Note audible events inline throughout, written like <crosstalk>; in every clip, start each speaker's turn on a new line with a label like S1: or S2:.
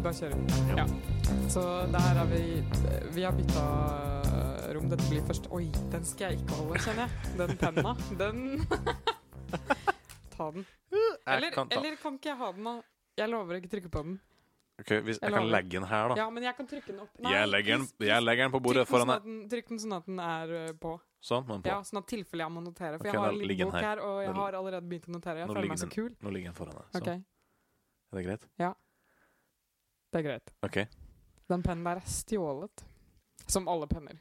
S1: kan kjøre. Ja. Så der er vi Vi har bytta rom. Dette blir først Oi, den skal jeg ikke holde, kjenner jeg. Den penna. Den <laughs> Ta den. Eller,
S2: Jeg kan ta
S1: eller kan ikke jeg ha den, da? Jeg lover å ikke trykke på den.
S2: Ok, hvis, Jeg
S1: jeg
S2: kan
S1: lover.
S2: legge den her, da.
S1: Ja, men jeg kan trykke den opp.
S2: Jeg legger den, jeg legger den på bordet
S1: trykk, den
S2: foran
S1: sånn
S2: deg.
S1: at den, trykk den sånn at den er eh, på.
S2: Sånn, nå er den på.
S1: Ja, Sånn at tilfelle jeg må notere. For
S2: Ok,
S1: jeg har
S2: da
S1: en
S2: ligger
S1: liten
S2: den
S1: bok
S2: her.
S1: her, og
S2: Nå-
S1: jeg har allerede begynt å notere. Jeg
S2: Nå
S1: føler
S2: ligger
S1: meg så kul.
S2: Nå ligger den foran deg. Sånn.
S1: Ok,
S2: Er det greit?
S1: Det er greit.
S2: Ok.
S1: Den pennen der er stjålet. Som alle penner.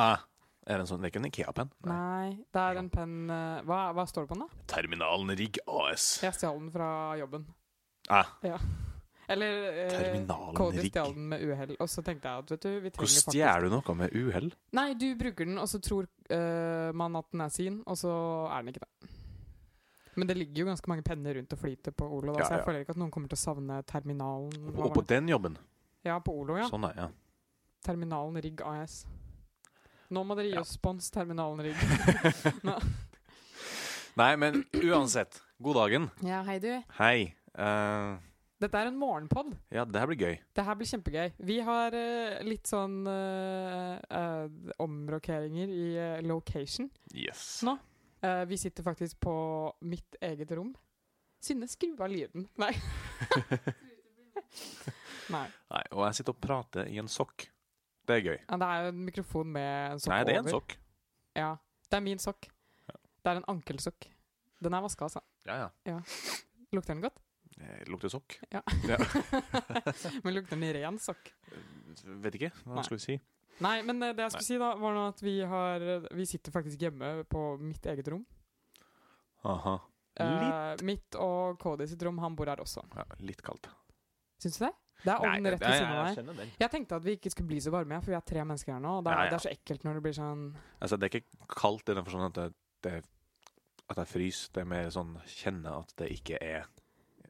S2: Ah, er det, en sånn, det er ikke en Ikea-penn?
S1: Nei, det er
S2: Ja.
S1: en penn eh, hva, hva står det på den, da?
S2: Terminalen Rigg AS.
S1: Jeg stjal den fra jobben.
S2: Ah,
S1: Eller eh,
S2: Terminalen
S1: Cody
S2: Rigg.
S1: stjal den med uhell. Og så tenkte jeg at vet du, vi
S2: Hvor
S1: trenger faktisk
S2: stjeler du noe med uhell?
S1: Nei, du bruker den, og så tror eh, man at den er sin, og så er den ikke det. Men det ligger jo ganske mange penner rundt og flyter på Olo, da,
S2: Ja,
S1: så jeg
S2: ja.
S1: føler ikke at noen kommer til å savne terminalen. Hva
S2: Og
S1: var
S2: på
S1: det?
S2: den jobben?
S1: Ja, på Olo, ja.
S2: Sånn, ja.
S1: Terminalen Rigg AS. Nå må dere gi
S2: Ja.
S1: oss spons, Terminalen Rigg.
S2: ja. <laughs>
S1: Nå.
S2: Nei, men uansett. God dagen.
S1: ja, hei du.
S2: Hei. Eh,
S1: Dette er en morgenpod.
S2: ja, det her blir gøy.
S1: Det her blir kjempegøy. Vi har eh, litt sånn eh, eh, omrokeringer i eh, location.
S2: Yes.
S1: Nå. Eh, vi sitter faktisk på mitt eget rom. Synne, skru av lyden. <laughs> Nei. Nei.
S2: Nei, og jeg sitter og prater i en sokk. Det er gøy.
S1: Ja, det er jo en mikrofon med en sokk
S2: Nei, det er en
S1: over.
S2: sokk.
S1: Ja. Det er min sokk. Det er en ankelsokk. Den er vaska, altså.
S2: Ja, ja.
S1: Lukter den godt?
S2: Eh, Lukter sokk?
S1: <laughs> Men lukter den i ren sokk?
S2: Vet ikke.
S1: Nei.
S2: Hva skal vi si?
S1: Nei, men eh, det jeg skulle si, da, var nå at vi har Vi sitter faktisk hjemme på mitt eget rom.
S2: Aha.
S1: Eh, mitt og KD sitt rom, han bor her også.
S2: Ja, litt kaldt.
S1: Syns du det? Det er ovnen rett ved
S2: jeg,
S1: siden av
S2: jeg
S1: deg.
S2: kjenner den.
S1: Jeg tenkte at vi ikke skulle bli så varme, ja, for vi er tre mennesker her nå. Og det, er,
S2: Ja, ja.
S1: det er så ekkelt når det blir sånn
S2: Altså, det er ikke kaldt i den forstand at, det- det- at jeg fryser. Det er mer sånn kjenne at det ikke er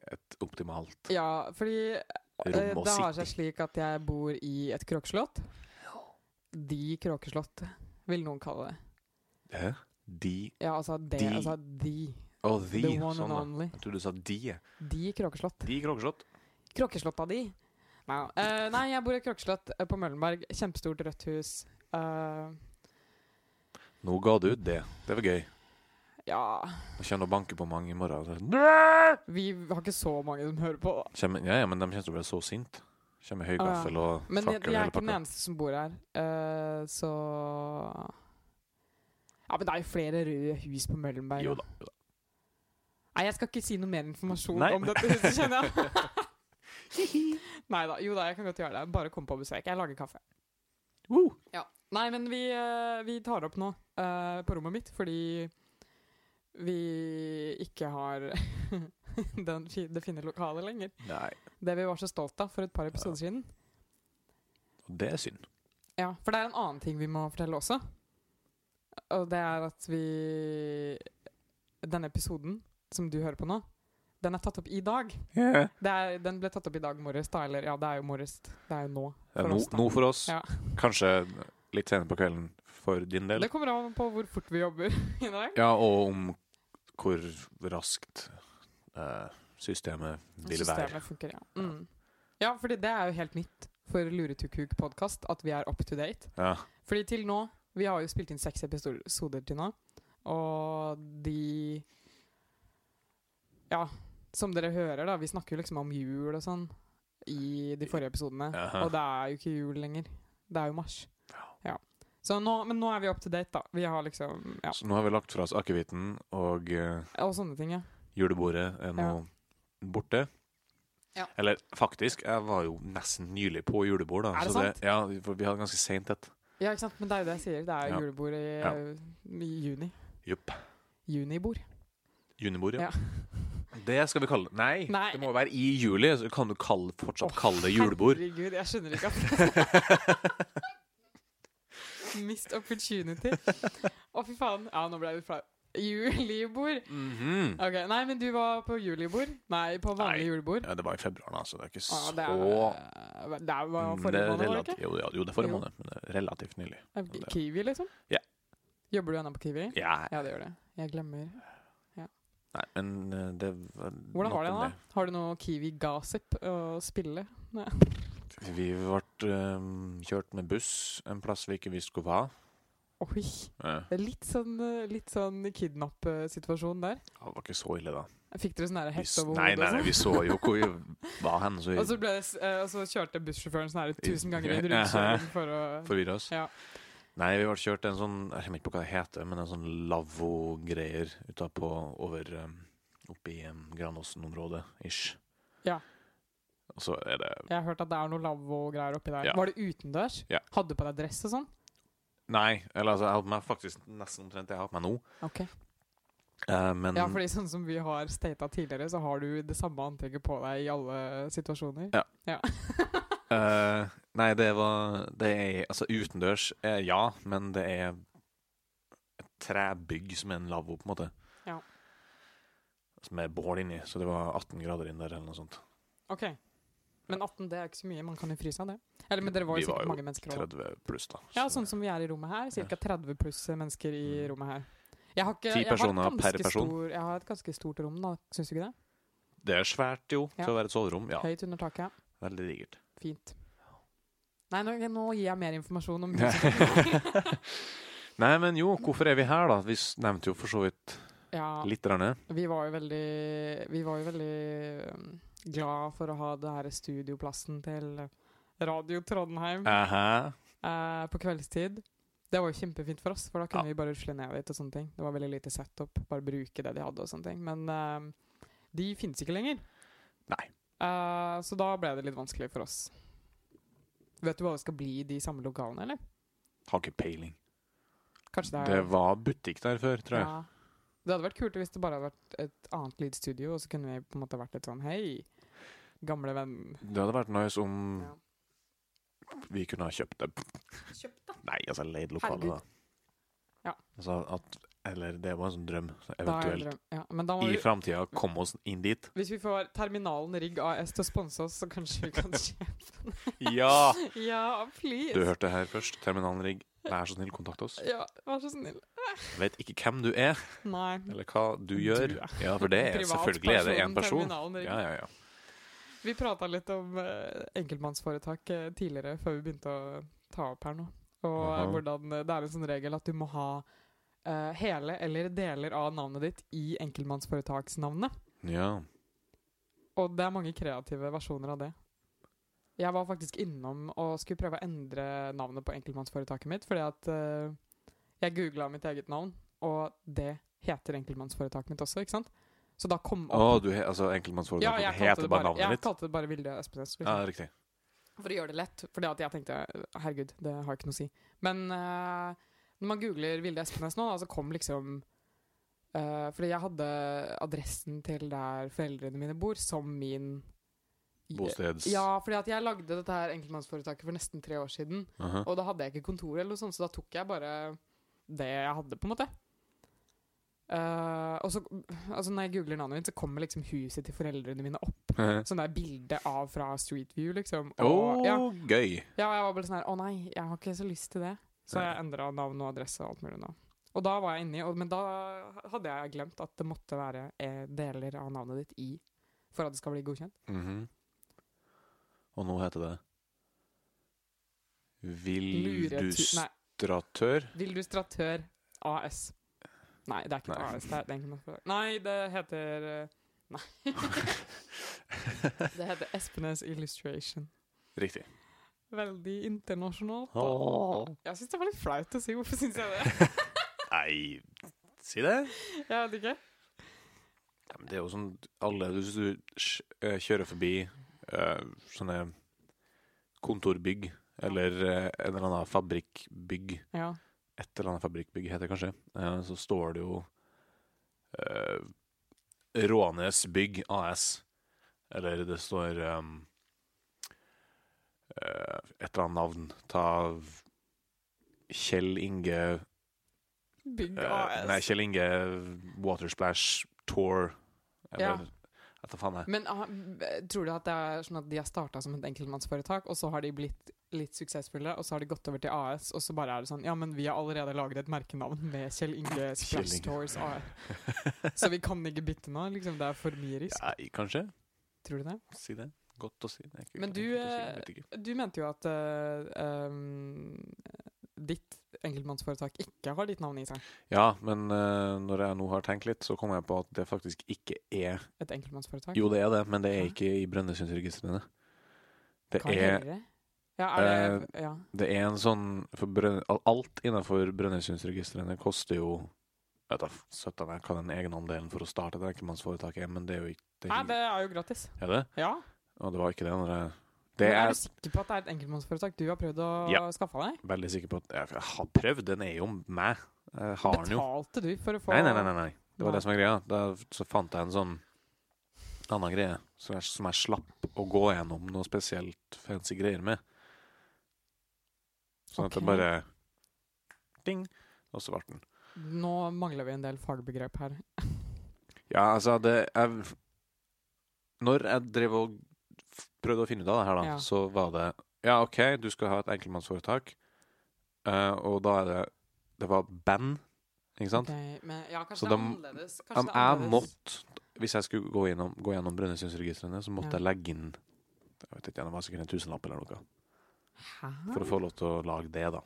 S2: et optimalt
S1: Ja, fordi eh,
S2: rom å
S1: det har
S2: sitte
S1: seg
S2: i.
S1: slik at jeg bor i et kråkeslott. De kråkeslott, vil noen kalle det.
S2: Hæ? De
S1: Ja, altså det,
S2: De.
S1: altså de.
S2: Å, de.
S1: The one
S2: sånn,
S1: and
S2: da.
S1: only.
S2: Jeg trodde du sa de. jeg.
S1: De kråkeslott.
S2: De kråkeslått.
S1: Kråkeslotta di. Nei, da. Eh, nei, jeg bor i et kråkeslott eh, på Møllenberg. Kjempestort rødt hus. Eh,
S2: Nå ga du ut det. Det var gøy.
S1: ja
S2: Jeg kjenner å banke på mange i morgen. Så. Nei!
S1: Vi har ikke så mange som hører på, da.
S2: Kjem, ja, ja, men de kommer til å bli så sinte. Kommer med høy
S1: Ah, ja.
S2: gaffel og
S1: Men jeg,
S2: fakkel og
S1: jeg er
S2: hele
S1: ikke den
S2: pakka.
S1: eneste som bor her, eh, så Ja, men det er jo flere røde hus på Møllenberg.
S2: Jo
S1: da.
S2: da. jo da.
S1: Nei, jeg skal ikke si noe mer informasjon
S2: Nei.
S1: om dette huset, kjenner jeg.
S2: <laughs>
S1: Nei da. Jo da, jeg kan godt gjøre det. Bare kom på besøk. Jeg lager kaffe.
S2: Woo!
S1: Nei, men vi, eh, vi tar opp nå eh, på rommet mitt fordi vi ikke har <laughs> den, fi- det fine lokalet lenger.
S2: Nei.
S1: Det vi var så stolt av for et par episoder siden.
S2: Og det er synd.
S1: Ja, for det er en annen ting vi må fortelle også. Og det er at vi Denne episoden som du hører på nå, den er tatt opp i dag.
S2: Yeah.
S1: Det er, den ble tatt opp i dag morges, da. Eller ja, det er jo morges. Det er jo nå.
S2: Det er
S1: For
S2: no,
S1: oss, da.
S2: noe for oss.
S1: Ja.
S2: Kanskje litt senere på kvelden for din del.
S1: Det kommer an på hvor fort vi jobber <laughs> i dag.
S2: Ja, og om hvor raskt eh, systemet vil være.
S1: Systemet funker, ja. Mm. Ja, fordi det er jo helt nytt for Luretukuk-podkast at vi er up to date.
S2: Ja.
S1: Fordi til nå Vi har jo spilt inn seks episoder til nå. Og de Ja, som dere hører, da. Vi snakker jo liksom om jul og sånn i de forrige episodene.
S2: Aha.
S1: Og det er jo ikke jul lenger. Det er jo mars. Ja. Så nå, men nå er vi up to date, da. Vi har liksom Ja.
S2: Så nå har vi lagt fra oss akevitten, og eh,
S1: Og sånne ting, ja.
S2: julebordet er nå borte.
S1: Ja.
S2: Eller faktisk, jeg var jo nesten nylig på julebord, da.
S1: Er det
S2: så ja, for vi hadde ganske seint et.
S1: Ja, ikke sant? Men det er jo det jeg sier. Det er jo
S2: Ja.
S1: julebord i,
S2: Ja.
S1: i juni.
S2: Jupp.
S1: Junibord.
S2: Junibord, ja. Det skal vi kalle det. Nei,
S1: Nei.
S2: det må være i juli. Så kan du kalle, fortsatt kalle det julebord.
S1: Herregud, jeg skjønner ikke at
S2: <laughs>
S1: Missed opportunity. Å, fy faen. Ja, nå ble jeg litt flau. Julibord.
S2: Mhm.
S1: Ok, Nei, men du var på julibord? Nei, på vanlig
S2: Nei.
S1: julebord?
S2: ja, det var i februar, da, så det er ikke
S1: Ah,
S2: så
S1: det, er, det er- var
S2: Mm, det
S1: forrige
S2: er
S1: måned, var
S2: relati-
S1: det ikke?
S2: Jo, ja, jo, det er forrige
S1: Jo.
S2: måned, men det er relativt nylig.
S1: Er- Kiwi, liksom?
S2: Ja.
S1: Jobber du ennå på Kiwi?
S2: Ja,
S1: Ja, det gjør det. Jeg glemmer.
S2: Nei, men eh, det var
S1: Hvordan var
S2: nok
S1: det,
S2: om
S1: da? Har du noe Kiwi-gossip å spille?
S2: Vi ble eh, kjørt med buss en plass vi ikke visste hvor var.
S1: Oi!
S2: Eh,
S1: Det er litt sånn, eh, litt sånn kidnapp-situasjon der.
S2: det var ikke så ille, da.
S1: Fikk dere sånn der
S2: Vi,
S1: hett
S2: s-
S1: over
S2: nei,
S1: hodet?
S2: nei,
S1: og
S2: nei,
S1: sånn?
S2: vi så jo hvor vi var hen, så
S1: <laughs> Og så,
S2: vi
S1: ble, det s- eh, og så kjørte bussjåføren sånn her
S2: I-
S1: tusen ganger i en
S2: <laughs>
S1: rundkjøring for å
S2: forvirra oss.
S1: Ja.
S2: Nei, vi ble kjørt til en sånn Jeg kommer ikke på hva det heter, men en sånn lavvo-greier utapå over eh, Oppe i um, Granåsen-området, ish.
S1: Ja.
S2: Og så er det
S1: Jeg har hørt at det er noe lavvo-greier oppi der.
S2: Ja.
S1: Var det utendørs?
S2: Ja.
S1: Hadde du på deg dress og sånn?
S2: Nei, eller altså, jeg hadde på meg faktisk nesten omtrent det jeg har på meg nå.
S1: Ok.
S2: Eh, men
S1: Ja, fordi sånn som vi har stata tidligere, så har du det samme antrekket på deg i alle situasjoner.
S2: Ja. Eh, nei, det var Det er Altså, utendørs, eh, ja, men det er et trebygg som er en lavvo, på en måte.
S1: Ja.
S2: Som er bål inni, så det var 18 grader inn der, eller noe sånt.
S1: Ok. Men 18 det er ikke så mye, man kan jo fryse av det. Eller, men dere var
S2: Vi
S1: jo
S2: var
S1: sikkert
S2: jo
S1: mange mennesker også.
S2: 30 pluss, da.
S1: Ja,
S2: Så
S1: sånn som vi er i rommet her. Ca. 30 pluss mennesker i
S2: Mm.
S1: rommet her. Jeg har ikke,
S2: Ti
S1: jeg har et
S2: personer per
S1: ganske
S2: person.
S1: Stor, jeg har et ganske stort rom, da. Syns du ikke det?
S2: Det er svært, jo,
S1: Ja.
S2: til å være et soverom. Ja,
S1: Høyt under taket.
S2: veldig
S1: <laughs>
S2: digert.
S1: Fint. Nei, nå, nå gir jeg mer informasjon
S2: <laughs>
S1: om
S2: Nei, men jo, hvorfor er vi her, da? Vi s- nevnte jo for så vidt
S1: Ja,
S2: litt. Rane.
S1: vi var jo veldig Vi var jo veldig um, glad for å ha det her studioplassen til Radio Trondheim
S2: Aha.
S1: eh, på kveldstid. Det var jo kjempefint for oss, for da kunne
S2: Ja.
S1: vi bare rusle ned dit og sånne ting. Det var veldig lite setup, bare bruke det de hadde og sånne ting. Men eh, de finnes ikke lenger.
S2: Nei.
S1: Eh, så da ble det litt vanskelig for oss. Vet du hva det skal bli i de samme lokalene, eller?
S2: Har ikke peiling.
S1: Kanskje det er
S2: Det var butikk der før, tror jeg.
S1: Ja. Det hadde vært kult hvis det bare hadde vært et annet lydstudio, og så kunne vi på en måte vært litt sånn Hei, gamle venn.
S2: Det hadde vært nice om
S1: Ja.
S2: vi kunne ha kjøpt det.
S1: Kjøpt, da.
S2: Nei, altså leid lokale,
S1: Herregud.
S2: da.
S1: Ja.
S2: Altså at Eller det var en sånn drøm, så
S1: Da er
S2: eventuelt.
S1: det- Ja, men da må
S2: I
S1: vi,
S2: framtida komme oss inn dit.
S1: hvis vi får Terminalen Rigg AS til å sponse oss, så kanskje vi
S2: <laughs>
S1: kan kjøpe den.
S2: Ja!
S1: <laughs> ja, please.
S2: Du hørte det her først. Terminalen Rigg, vær så snill, kontakt oss.
S1: Ja, vær så snill.
S2: Vet ikke hvem du er,
S1: Nei.
S2: eller hva du gjør.
S1: Du er
S2: Ja, for det er selvfølgelig er det én
S1: Privatpersonen
S2: person.
S1: Terminalen Rigg.
S2: Ja, ja, ja.
S1: Vi prata litt om eh, enkeltmannsforetak eh, tidligere, før vi begynte å ta opp her nå. Og eh,
S2: Aha.
S1: hvordan eh, det er en sånn regel at du må ha eh, hele eller deler av navnet ditt i enkeltmannsforetaksnavnet.
S2: ja.
S1: Og det er mange kreative versjoner av det. Jeg var faktisk innom og skulle prøve å endre navnet på enkeltmannsforetaket mitt, fordi at eh, jeg googla mitt eget navn, og det heter enkeltmannsforetaket mitt også, ikke sant? Så da kom
S2: Å, du he, altså, enkeltmannsforetaket
S1: ja, jeg
S2: ditt
S1: kalte
S2: heter
S1: det
S2: bare
S1: bare,
S2: navnet
S1: jeg
S2: ditt?
S1: kalte det bare Vilde Østbønes.
S2: Ja, riktig.
S1: For å gjøre det lett. For jeg tenkte herregud, det har jeg ikke noe å si. Men eh, når man googler Vilde Espenes nå, da, så kom liksom eh, Fordi jeg hadde adressen til der foreldrene mine bor, som min
S2: Bosteds...
S1: Ja, fordi at jeg lagde dette her enkeltmannsforetaket for nesten tre år siden.
S2: Aha.
S1: Og da hadde jeg ikke kontor, eller noe sånt, så da tok jeg bare det jeg hadde, på en måte. Eh, og så, altså Når jeg googler navnet mitt, så kommer liksom huset til foreldrene mine opp. Sånn der bilde av fra Street View, liksom.
S2: <laughs> Å,
S1: Og, ja.
S2: gøy.
S1: Ja, jeg var bare sånn her Å nei, jeg har ikke så lyst til det. Så jeg endra navn og adresse og alt mulig nå. Og da var jeg inni, og, men da hadde jeg glemt at det måtte være eh, deler av navnet ditt i for at det skal bli godkjent.
S2: Mhm. Og nå heter det
S1: Luretu- Nei,
S2: Vildustratør.
S1: Vildustratør AS. Nei, det er ikke
S2: Nei.
S1: noe AS. Det er, det er ikke noe. Nei, det heter eh,
S2: <laughs>
S1: Nei. det heter Espenes Illustration.
S2: Riktig.
S1: Veldig internasjonalt. da.
S2: Åh.
S1: Jeg syns det var litt flaut å si. Hvorfor syns jeg det?
S2: <laughs> Nei, si det.
S1: Jeg vet ikke.
S2: Ja, men det er jo sånn alle Hvis du sj- eh, kjører forbi eh, sånne kontorbygg eller eh, en eller annen fabrikkbygg
S1: Ja.
S2: Et eller annet fabrikkbygg heter det kanskje. eh, så står det jo eh, Rånes Bygg AS. Eller det står um, eh, et eller annet navn. Ta v- Kjell Inge
S1: Bygg
S2: Eh,
S1: AS.
S2: Nei, Kjell Inge Watersplash Tour. Eller,
S1: Ja.
S2: jeg Jeg tar faen jeg.
S1: Men ah, b- tror du at det er sånn at de har starta som et enkeltmannsforetak, og så har de blitt litt suksessfulle, og så har de gått over til AS, og så bare er det sånn Ja, men vi har allerede laget et merkenavn med Kjell
S2: <laughs>
S1: Inge Splash
S2: Inge.
S1: Tours AS.
S2: <laughs>
S1: Så vi kan ikke bytte nå, liksom. Det er for mye risk.
S2: Ja, kanskje.
S1: Tror du det?
S2: Si det. Godt å si. Det er ikke-
S1: Men
S2: det er
S1: du,
S2: ikke godt å si, jeg
S1: eh,
S2: vet ikke.
S1: Du mente jo at eh, ehm, ditt enkeltmannsforetak ikke har ditt navn i seg.
S2: Ja, men eh, når jeg nå har tenkt litt, så kom jeg på at det faktisk ikke er
S1: Et enkeltmannsforetak.
S2: Jo, det er det, men det er
S1: Hæ?
S2: ikke i Brønnøysundregistrene. Det
S1: Hva
S2: er Eh,
S1: heter det? Ja, er det Ja.
S2: Det er en sånn for Brønn- al- Alt innenfor Brønnøysundregistrene koster jo Vet da, f- søtta meg hva den egenandelen for å starte et enkeltmannsforetak er, men det er jo ikke det
S1: Nei,
S2: er,
S1: det er jo gratis.
S2: ikke- er det?
S1: Ja.
S2: Og det var ikke det. Når jeg, det
S1: Men
S2: er
S1: er
S2: jeg
S1: du sikker på at det er et enkeltmannsforetak du har prøvd å
S2: Ja.
S1: skaffe deg?
S2: veldig sikker på at jeg, jeg har prøvd. Den er jo meg. Jeg har den jo.
S1: Betalte du for å få
S2: Nei, nei, nei. nei, nei. Det
S1: Nei.
S2: var det som var greia. Da så fant jeg en sånn annen greie som jeg, som jeg slapp å gå gjennom noe spesielt fancy greier med. Sånn at det
S1: Ok.
S2: bare Ding! Og så ble den.
S1: Nå mangler vi en del fagbegrep her.
S2: Ja, altså det jeg, Når jeg drev og f- prøvde å finne ut av det her, da,
S1: Ja.
S2: så var det Ja, OK, du skal ha et enkeltmannsforetak, eh, og da er det Det var band, ikke sant?
S1: Ok, men ja, kanskje
S2: Så
S1: det er
S2: dem-
S1: annerledes. Kanskje
S2: Om
S1: det er
S2: jeg
S1: annerledes.
S2: måtte, hvis jeg skulle gå gjennom, gå gjennom Brønnøysundregistrene, så
S1: Ja.
S2: måtte jeg legge inn jeg vet ikke, det var sikkert en tusenlapp eller noe,
S1: Hæ?
S2: for å få lov til å lage
S1: <laughs>
S2: det, da.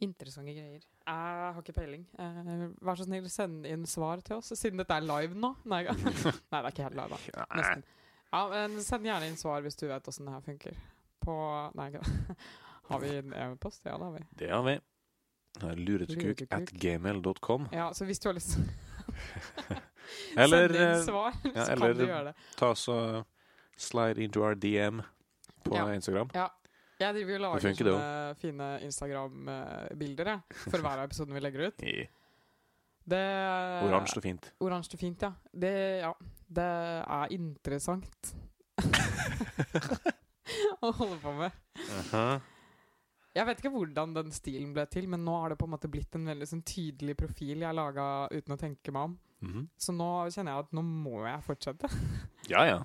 S1: Interessante greier. Jeg har ikke peiling. Eh, vær så snill, send inn svar til oss, siden dette er live nå. Nei, <laughs> nei det er ikke helt live, da.
S2: Nei.
S1: Nesten. Ja, men send gjerne inn svar hvis du vet åssen det her funker. På Nei, ikke det. <laughs> Har vi en e-post? Ja, det har vi.
S2: Det har vi. Luretekuk at gmail.com.
S1: Ja, så hvis du har lyst
S2: Eller
S1: send inn
S2: eh,
S1: svar,
S2: ja,
S1: så
S2: eller-
S1: kan du gjøre det.
S2: Ta så slide into our DM på
S1: Ja.
S2: Instagram.
S1: Jeg driver jo og
S2: Det
S1: lager
S2: funker, det
S1: sånne fine Instagram-bilder jeg, for hver av episoden vi legger ut.
S2: I
S1: Det, Eh.
S2: oransje og fint.
S1: Oransje og fint, ja. Det, ja. det er interessant <laughs> å holde på med. Jeg vet ikke hvordan den stilen ble til, men nå har det på en måte blitt en veldig sånn, tydelig profil jeg laga uten å tenke meg om.
S2: Mhm.
S1: Så nå kjenner jeg at nå må jeg fortsette.
S2: Ja, ja.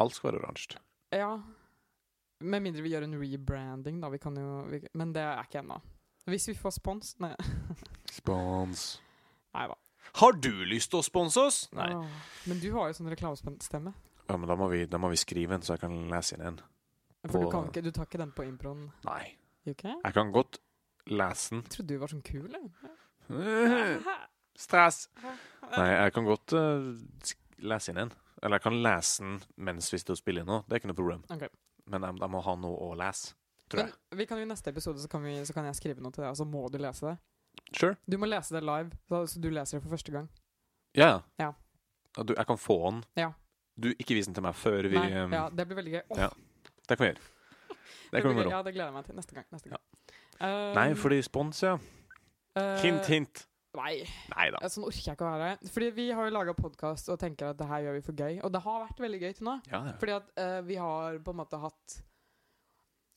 S2: Alt skal være oransje.
S1: ja. Med mindre vi gjør en rebranding, da. Vi kan jo, vi, men det er ikke ennå. Hvis vi får spons Nei,
S2: Spons.
S1: nei da.
S2: Har du lyst til å sponse oss? Nei.
S1: Åh, Men du har jo sånn reklamestemme.
S2: Ja, men da må, vi, da må vi skrive en, så jeg kan lese inn en.
S1: For du,
S2: På-
S1: kan ikke, du tar ikke den på improen?
S2: Nei.
S1: UK? Jeg
S2: Jeg kan godt lese
S1: <laughs>
S2: den.
S1: trodde du var sånn kul, jeg.
S2: Stress. Nei, jeg kan godt eh, sk- lese inn en. Eller jeg kan lese den mens vi står og spiller inn nå. Det er ikke noe problem.
S1: Ok.
S2: Men jeg, jeg må ha noe å lese, <clears throat> tror
S1: Men
S2: jeg.
S1: vi kan jo i neste episode så kan, vi, så kan jeg skrive noe til deg, og så må du lese det.
S2: Sure.
S1: Du må lese det live, så, så du leser det for første gang.
S2: Ja,
S1: Ja.
S2: Og Du, jeg kan få den.
S1: Ja.
S2: Du, ikke vis den til meg før vi
S1: Nei,
S2: um,
S1: ja, det blir veldig gøy. Åh,
S2: ja, Det kan vi gjøre. Det kan vi
S1: blir
S2: gjøre.
S1: gøy. Ja, det gleder jeg meg til. Neste gang. Neste gang. Um,
S2: Nei, fordi spons, ja.
S1: eh,
S2: Hint, hint.
S1: Nei,
S2: Nei da.
S1: sånn orker jeg ikke å være. Fordi vi har jo laga podkast og tenker at det her gjør vi for gøy. Og det har vært veldig gøy til nå.
S2: Ja, ja.
S1: Fordi at eh, vi har på en måte hatt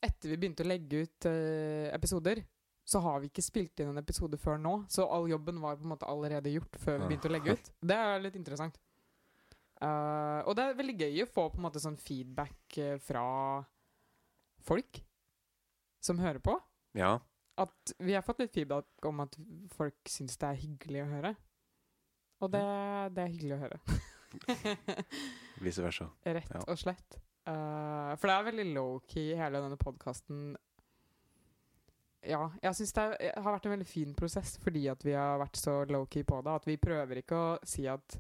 S1: Etter vi begynte å legge ut eh, episoder, så har vi ikke spilt inn en episode før nå. Så all jobben var på en måte allerede gjort før vi begynte å legge ut. Det er litt interessant. Eh, og det er veldig gøy å få på en måte sånn feedback eh, fra folk som hører på.
S2: ja.
S1: At vi har fått litt feedback om at folk syns det er hyggelig å høre. Og det, det er hyggelig å høre. <laughs>
S2: Vice versa.
S1: Rett
S2: Ja.
S1: og slett. Eh, for det er veldig low-key, hele denne podkasten. Ja, jeg syns det er, eh, har vært en veldig fin prosess fordi at vi har vært så low-key på det. At vi prøver ikke å si at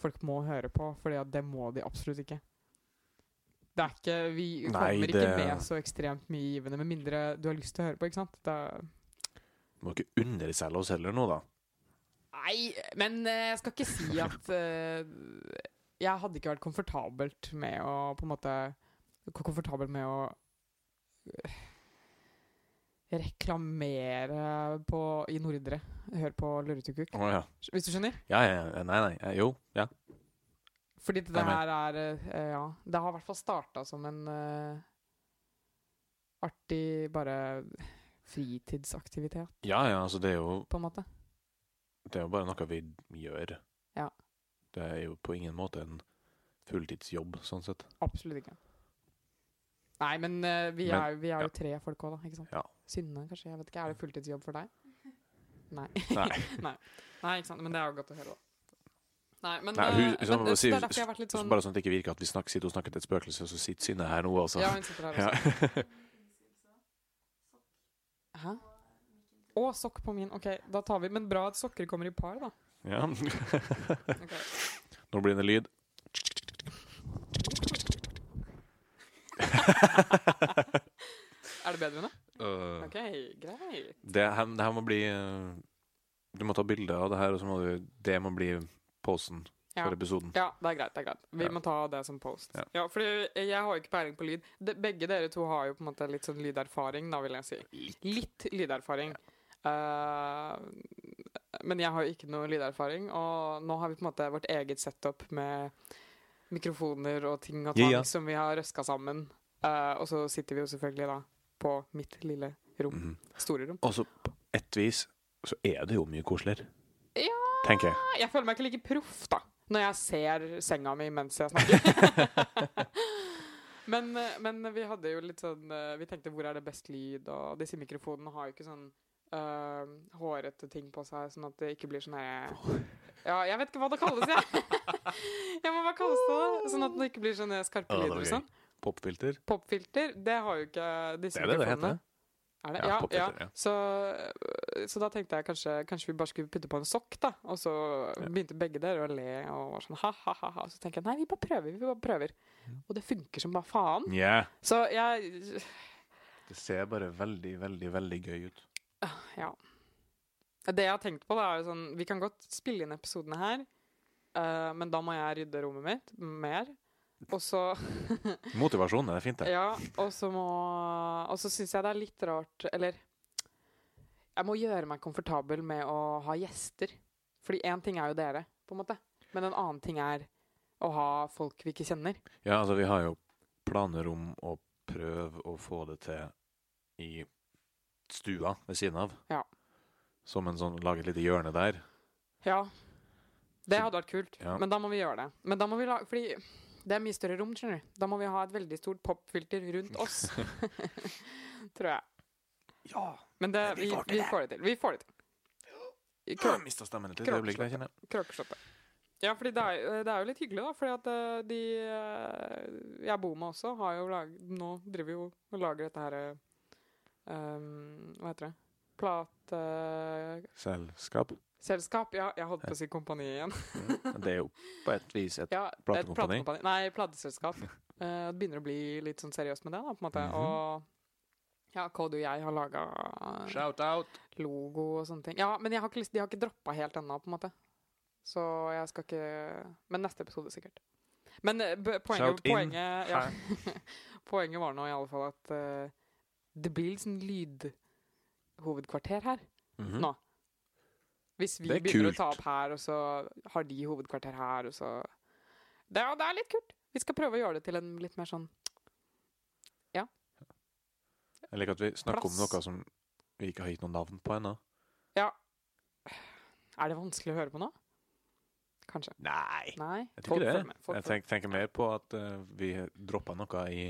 S1: folk må høre på, fordi at det må de absolutt ikke. Det er ikke, Vi kommer
S2: Nei,
S1: ikke
S2: det-
S1: med så ekstremt mye givende, med mindre du har lyst til å høre på, ikke sant? Det er
S2: Må ikke underselge oss heller nå, da.
S1: Nei, men eh, jeg skal ikke si at eh, Jeg hadde ikke vært komfortabelt med å på en måte ko- Komfortabel med å eh, reklamere på, i Nordre. Hør på Luretukuk,
S2: Å ja.
S1: hvis du skjønner?
S2: Ja, ja, ja. Nei, nei. Eh, Jo. Ja.
S1: Fordi det
S2: Jeg
S1: her er eh, Ja. Det har i hvert fall starta som en eh, artig bare fritidsaktivitet,
S2: Ja, ja, altså det er jo
S1: på en måte.
S2: Det er jo bare noe vi gjør.
S1: Ja.
S2: Det er jo på ingen måte en fulltidsjobb, sånn sett.
S1: Absolutt ikke. Nei, men eh, vi,
S2: Men-
S1: er, vi er
S2: ja.
S1: jo tre folk òg, da. ikke sant?
S2: Ja.
S1: Synne, kanskje? jeg vet ikke, Er det fulltidsjobb for deg? Nei.
S2: Nei.
S1: <laughs> Nei. Nei, ikke sant? Men det er jo godt å høre, da. Nei, men,
S2: Nei, hun-
S1: eh, men
S2: sånn, hva
S1: det, det
S2: sier-
S1: er derfor jeg har vært litt sånn
S2: Bare sånn at det ikke virker at vi snakker, sitter og snakker til et spøkelse, og så sitter Synne her nå, altså.
S1: Ja, sånn. hun sitter der
S2: <laughs> Ja.
S1: også. Hæ? Å, sokk på min. Ok, da tar vi Men bra at sokker kommer i par, da.
S2: Ja.
S1: <laughs> Ok.
S2: Nå blir det lyd.
S1: Er det bedre nå?
S2: Øh,
S1: Ok, greit.
S2: det, her, det her må bli øh, Du må ta bilde av det her, og så må du Det må bli posen
S1: Ja.
S2: for episoden.
S1: Ja, det er greit. det er greit Vi
S2: Ja.
S1: må ta det som post.
S2: Ja.
S1: Ja, fordi jeg har jo ikke peiling på lyd. De, begge dere to har jo på en måte litt sånn lyderfaring, da vil jeg si. Litt lyderfaring. Eh, men jeg har jo ikke noe lyderfaring, og nå har vi på en måte vårt eget setup med mikrofoner og ting og tang
S2: Ja, ja.
S1: som vi har røska sammen. Eh, og så sitter vi jo selvfølgelig da på mitt lille rom.
S2: Mhm.
S1: Store rom.
S2: Og så på et vis så er det jo mye koseligere,
S1: Ja,
S2: tenker jeg.
S1: jeg føler meg ikke like proff da når jeg ser senga mi mens jeg
S2: <laughs>
S1: snakker. men, eh, men vi hadde jo litt sånn eh, Vi tenkte hvor er det best lyd, og disse mikrofonene har jo ikke sånn eh, hårete ting på seg, sånn at det ikke blir sånn her Ja, jeg vet ikke hva det kalles,
S2: <laughs>
S1: jeg. jeg må bare kalles det det. Sånn at det ikke blir sånne skarpe
S2: Ja, det
S1: lyder
S2: var
S1: og
S2: gøy.
S1: sånn.
S2: Popfilter.
S1: Popfilter, det har jo ikke disse
S2: Det er det det
S1: mikrofonene.
S2: heter.
S1: Er det?
S2: Ja,
S1: Ja, ja,
S2: popfilter, ja.
S1: Så, eh, så da tenkte jeg kanskje, kanskje vi bare skulle putte på en sokk, da. Og så
S2: Ja.
S1: begynte begge der å le og var sånn ha-ha-ha. Så tenker jeg nei, vi bare prøver. vi bare prøver. Og det funker som bare faen.
S2: Ja.
S1: Så jeg
S2: Det ser bare veldig, veldig, veldig gøy ut.
S1: Ja. Det jeg har tenkt på, da, er jo sånn Vi kan godt spille inn episodene her, eh, men da må jeg rydde rommet mitt mer. Og så
S2: Motivasjonen det er fint, det.
S1: Ja, og så må Og så syns jeg det er litt rart Eller Jeg må gjøre meg komfortabel med å ha gjester. Fordi én ting er jo dere, på en måte. Men en annen ting er å ha folk vi ikke kjenner.
S2: Ja, altså, vi har jo planer om å prøve å få det til i stua ved siden av.
S1: Ja.
S2: Som en sånn Lage et lite hjørne der.
S1: Ja. Det
S2: Så-
S1: hadde vært kult.
S2: Ja.
S1: Men da må vi gjøre det. Men da må vi la Fordi det er mye større rom, skjønner du. Da må vi ha et veldig stort popfilter rundt oss. <laughs>
S2: <laughs>
S1: Tror jeg.
S2: Ja!
S1: Men det,
S2: Men vi
S1: vi,
S2: får til
S1: vi
S2: det.
S1: får det til. Vi får det til.
S2: Jeg mista stemmen et lite
S1: Kropp-
S2: øyeblikk. der, kjenner jeg.
S1: Kråkeslottet. Ja, fordi det er, det er jo litt hyggelig, da. Fordi at eh, de eh, jeg bor med også, har jo lag, nå driver jo og lager dette her eh, um, Hva heter det? Plateselskap?
S2: Selskap.
S1: Ja, jeg holdt på å si kompani igjen. <laughs>
S2: Det er jo på et vis et
S1: Ja, et
S2: Platekompani?
S1: platekompani. Nei, plateselskap. Eh, det begynner å bli litt sånn seriøst med det, da, på en måte.
S2: Mhm.
S1: Og ja, Cody og jeg har eh, laga
S2: Shout-out!
S1: logo og sånne ting. Ja, men jeg har ikke lyst, de har ikke droppa helt ennå, på en måte. Så jeg skal ikke Men neste episode, sikkert. Men eh, b- poenget,
S2: Shout in.
S1: poenget, ja, <laughs> poenget var nå i alle fall at eh, det blir litt sånn lydhovedkvarter her.
S2: Mhm.
S1: Nå. Hvis vi
S2: Det er
S1: begynner å ta
S2: kult.
S1: opp her, og så har de hovedkvarter her, og så det, er- det er litt kult. Vi skal prøve å gjøre det til en litt mer sånn
S2: Jeg liker at vi snakker om
S1: Plass.
S2: noe som vi ikke har gitt noe navn på ennå.
S1: Er det vanskelig å høre på nå? Kanskje.
S2: Nei.
S1: Nei?
S2: Jeg tror ikke det.
S1: følger med, folk
S2: Jeg
S1: følger med.
S2: tenk, tenker mer på at eh, vi droppa noe i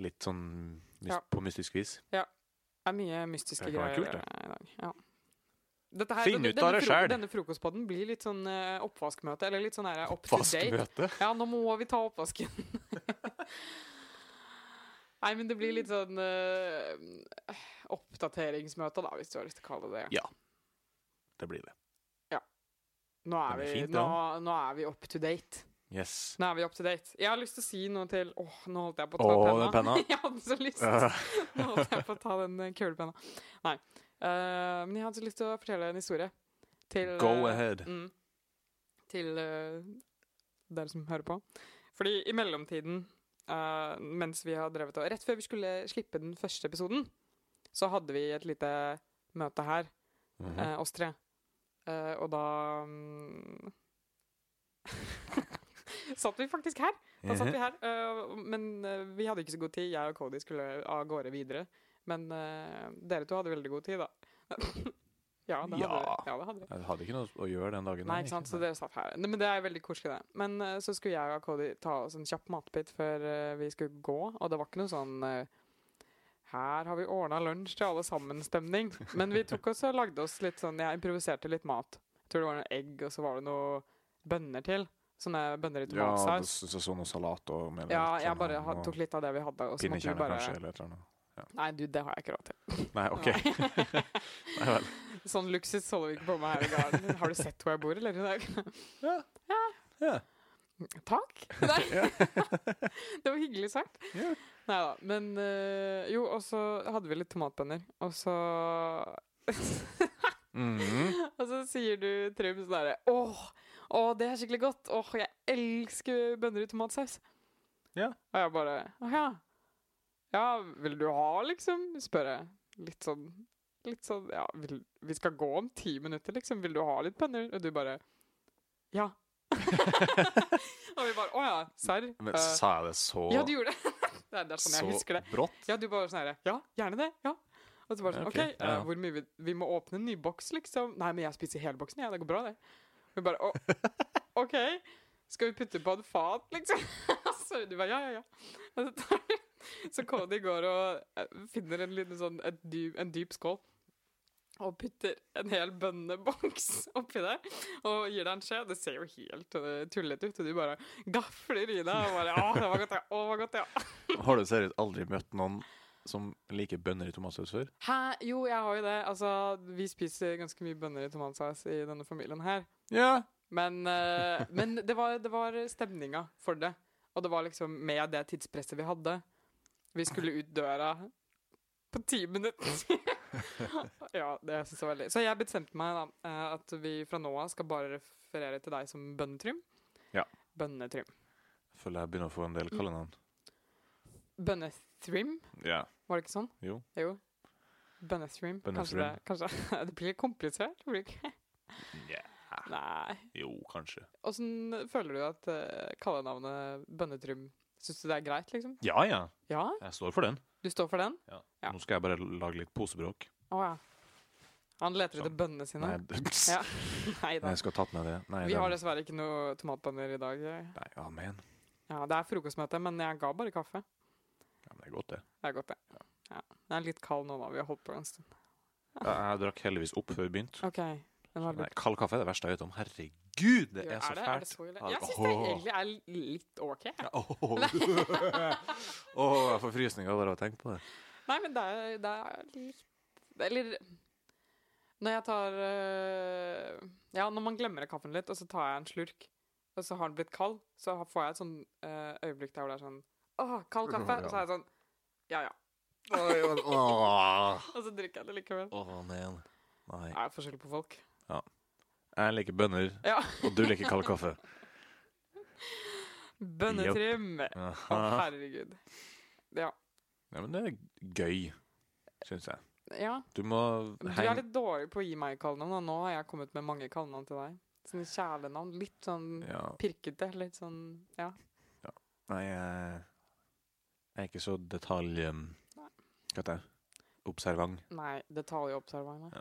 S2: litt sånn mys
S1: Ja.
S2: på mystisk vis.
S1: Det er mye mystiske
S2: Det kan være
S1: greier
S2: kult, det.
S1: eh, i dag. Ja. Dette her,
S2: Finn
S1: denne-
S2: ut av
S1: denne
S2: det
S1: fro-
S2: selv.
S1: Denne frokostpodden blir litt sånn eh, oppvaskmøte, eller litt sånn her up to date.
S2: Vaskemøte.
S1: Ja, nå må vi ta oppvasken. <laughs> Nei, men det blir litt sånn eh, oppdateringsmøte, da, hvis du har lyst til å kalle det det.
S2: Det blir det.
S1: Nå er
S2: Det
S1: vi,
S2: blir fint, det
S1: nå, nå er vi up to date.
S2: Yes.
S1: Nå er vi up to date. Jeg har lyst til å si noe til Åh, nå holdt jeg på å ta
S2: Åh,
S1: penna.
S2: den
S1: <laughs>
S2: penna.
S1: jeg hadde så lyst.
S2: <laughs>
S1: <laughs> Nå holdt jeg på å ta den eh, kulepenna. Nei. Eh, men jeg hadde så lyst til å fortelle en historie. Til,
S2: Go
S1: eh,
S2: ahead.
S1: Mm, til eh, dere som hører på. Fordi i mellomtiden, eh, mens vi har drevet og Rett før vi skulle slippe den første episoden, så hadde vi et lite møte her,
S2: Mhm.
S1: eh, oss tre. Eh, og da mm, <laughs> Satt vi faktisk her. Da satt vi her. øh, men øh, vi hadde ikke så god tid. Jeg og eh, Cody skulle av gårde videre. Men øh, dere to hadde veldig god tid, da. <laughs> Ja, det hadde,
S2: Ja.
S1: ja, det hadde vi.
S2: Jeg hadde ikke noe å gjøre den dagen.
S1: Nei, ikke sant? Så dere satt her. Ne, Men det er veldig koselig, det. Men eh, så skulle jeg og Cody ta oss en kjapp matbit før eh, vi skulle gå, og det var ikke noe sånn eh, her har vi ordna lunsj til alle sammen-stemning. Men vi tok oss og lagde oss litt sånn Jeg improviserte litt mat. Jeg tror det var noe egg, og så var det noe bønner til. Sånne bønner i
S2: ja, det,
S1: tomatsaus.
S2: så, så, sånn og salat og med litt
S1: Ja,
S2: sånn
S1: jeg bare
S2: og-
S1: ha- tok litt av det vi hadde. Og så måtte vi
S2: Pinnekjerner,
S1: bare
S2: kanskje, eller et eller annet.
S1: Nei, du, det har jeg ikke råd til.
S2: Nei, OK. <laughs>
S1: <laughs> Sånn luksus holder vi ikke på med her i garden. Har du sett hvor jeg bor, eller? i dag?
S2: Ja.
S1: <laughs>
S2: <laughs>
S1: Takk! Nei. <laughs> det var hyggelig sagt.
S2: Ja.
S1: Nei da. Men øh, jo, og så hadde vi litt tomatbønner, og så <laughs>
S2: Mhm.
S1: Og så sier du, Trym, sånn derre Åh, åh, det er skikkelig godt. Åh, jeg elsker bønner i tomatsaus.
S2: Ja.
S1: Og jeg bare Å ja. Ja, vil du ha, liksom? Spør jeg. Litt sånn Litt sånn Ja, vil, vi skal gå om ti minutter, liksom. Vil du ha litt bønner? Og du bare Ja. <laughs> og vi bare Å ja, serr.
S2: Men
S1: Eh,
S2: sa jeg det så,
S1: ja, du gjorde det. <laughs> det er, det er sånn jeg husker det.
S2: så brått?
S1: Ja, du bare sånn her Ja, gjerne det. Ja. Og så bare sånn
S2: Ok,
S1: OK, eh,
S2: ja.
S1: hvor mye vi, vi må åpne en ny boks, liksom. Nei, men jeg spiser hele boksen, jeg. Ja, det går bra, det. Vi bare
S2: <laughs>
S1: å, OK. Skal vi putte på et fat, liksom? <laughs> så du bare ja, ja, ja. Og så tar du Så Cody går og eh, finner en liten sånn et dyp, en dyp skål. Og putter en hel bønneboks oppi der og gir deg en skje. Det ser jo helt eh, tullete ut, og du bare gafler i deg. Og bare, å, det var godt, ja. Å, det var godt, ja.
S2: Har du seriøst aldri møtt noen som liker bønner i tomatsaus før?
S1: Hæ? Jo, jeg har jo det. Altså, vi spiser ganske mye bønner i tomatsaus i denne familien her.
S2: Ja.
S1: Men, eh, men det, var, det var stemninga for det. Og det var liksom med det tidspresset vi hadde. Vi skulle ut døra på ti minutter. <laughs> ja, det synes jeg var veldig Så jeg bestemte meg da eh, at vi fra nå av skal bare referere til deg som Bønnetrym.
S2: Ja.
S1: Bønnetrym.
S2: Føler jeg begynner å få en del kallenavn.
S1: Bønnetrim,
S2: Ja.
S1: var det ikke sånn?
S2: Jo.
S1: jo. Bønnetrim. Kanskje, det,
S2: Bønnetrim.
S1: kanskje <laughs> det blir litt komplisert? Blir det ikke?
S2: Nja.
S1: Nei.
S2: Jo, kanskje.
S1: Åssen føler du at uh, kallenavnet Bønnetrym Syns du det er greit, liksom?
S2: Ja ja,
S1: Ja,
S2: jeg står for den.
S1: du står for den? Ja.
S2: Nå skal jeg bare lage litt posebråk.
S1: Å ja. Han leter etter
S2: Sånn.
S1: bønnene sine. <laughs>
S2: Nei,
S1: Ja. Nei da.
S2: <laughs> jeg skal tatt med det. Nei,
S1: Vi
S2: den-
S1: har dessverre ikke noe tomatbønner i dag.
S2: Nei, amen.
S1: Ja, Det er frokostmøte, men jeg ga bare kaffe.
S2: Ja, men det er godt, det.
S1: Det er godt, det. Ja. Jeg er litt kald nå, da. Vi har holdt på en stund.
S2: Jeg, jeg drakk heldigvis opp før vi begynte.
S1: OK. Den var
S2: Nei,
S1: litt...
S2: kald kaffe er det verste jeg vet om. Herregud, det
S1: Ja,
S2: er så
S1: det, er det
S2: fælt.
S1: så ille?
S2: Ja,
S1: Jeg syns det
S2: åh.
S1: egentlig er litt OK. jeg.
S2: Åh, <laughs> Åh, jeg får frysninger bare av å tenke på det.
S1: Nei, men det er, det er litt Eller Når jeg tar øh, Ja, når man glemmer kaffen litt, og så tar jeg en slurk, og så har den blitt kald, så har- får jeg et sånn øh, øyeblikk der hvor det er sånn Åh, kald kaffe! Og så er jeg sånn Ja, ja.
S2: Åh,
S1: Og så drikker jeg det likevel.
S2: Åh, man. Nei.
S1: Det er forskjell på folk.
S2: Jeg liker bønner,
S1: Ja.
S2: og du liker kald
S1: <laughs>
S2: kaffe.
S1: Bønnetrim! Å,
S2: Aha.
S1: herregud. Ja.
S2: Ja, men det er gøy, syns jeg.
S1: ja.
S2: Du må
S1: Du
S2: henge
S1: er litt dårlig på å gi meg kallenavn, og nå har jeg kommet med mange kallenavn til deg. Sånne kjælenavn. Litt sånn
S2: ja.
S1: pirkete. Litt sånn Ja.
S2: Nei, jeg jeg er ikke så detalj... Um, hva heter det? Observant.
S1: Nei, detaljobservant.
S2: Ja.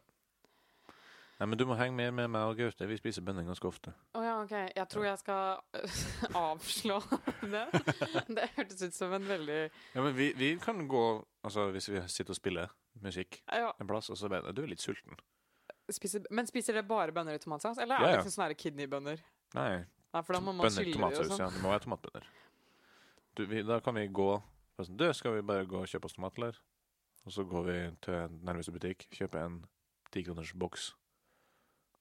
S2: Nei, men du må henge med med meg og Gaute. Vi spiser bønner ganske ofte.
S1: Å ja, OK. Jeg tror jeg skal <laughs> avslå det. Det hørtes ut som en veldig
S2: Ja, men vi, vi kan gå Altså, hvis vi sitter og spiller musikk
S1: ja,
S2: en plass, og så mener jeg du er litt sulten.
S1: spiser, Men spiser dere bare bønner i tomatsaus, eller er
S2: Ja,
S1: det
S2: ja.
S1: liksom sånne her kidneybønner?
S2: Nei,
S1: Nei, for da må man
S2: bønner,
S1: skylle de og
S2: tomatsaus.
S1: sånn.
S2: Ja, det må være tomatbønner. Du, vi, da kan vi gå bare sånn, Du, skal vi bare gå og kjøpe oss tomatler? Og så går vi til nærmeste butikk, kjøper en tikroners boks.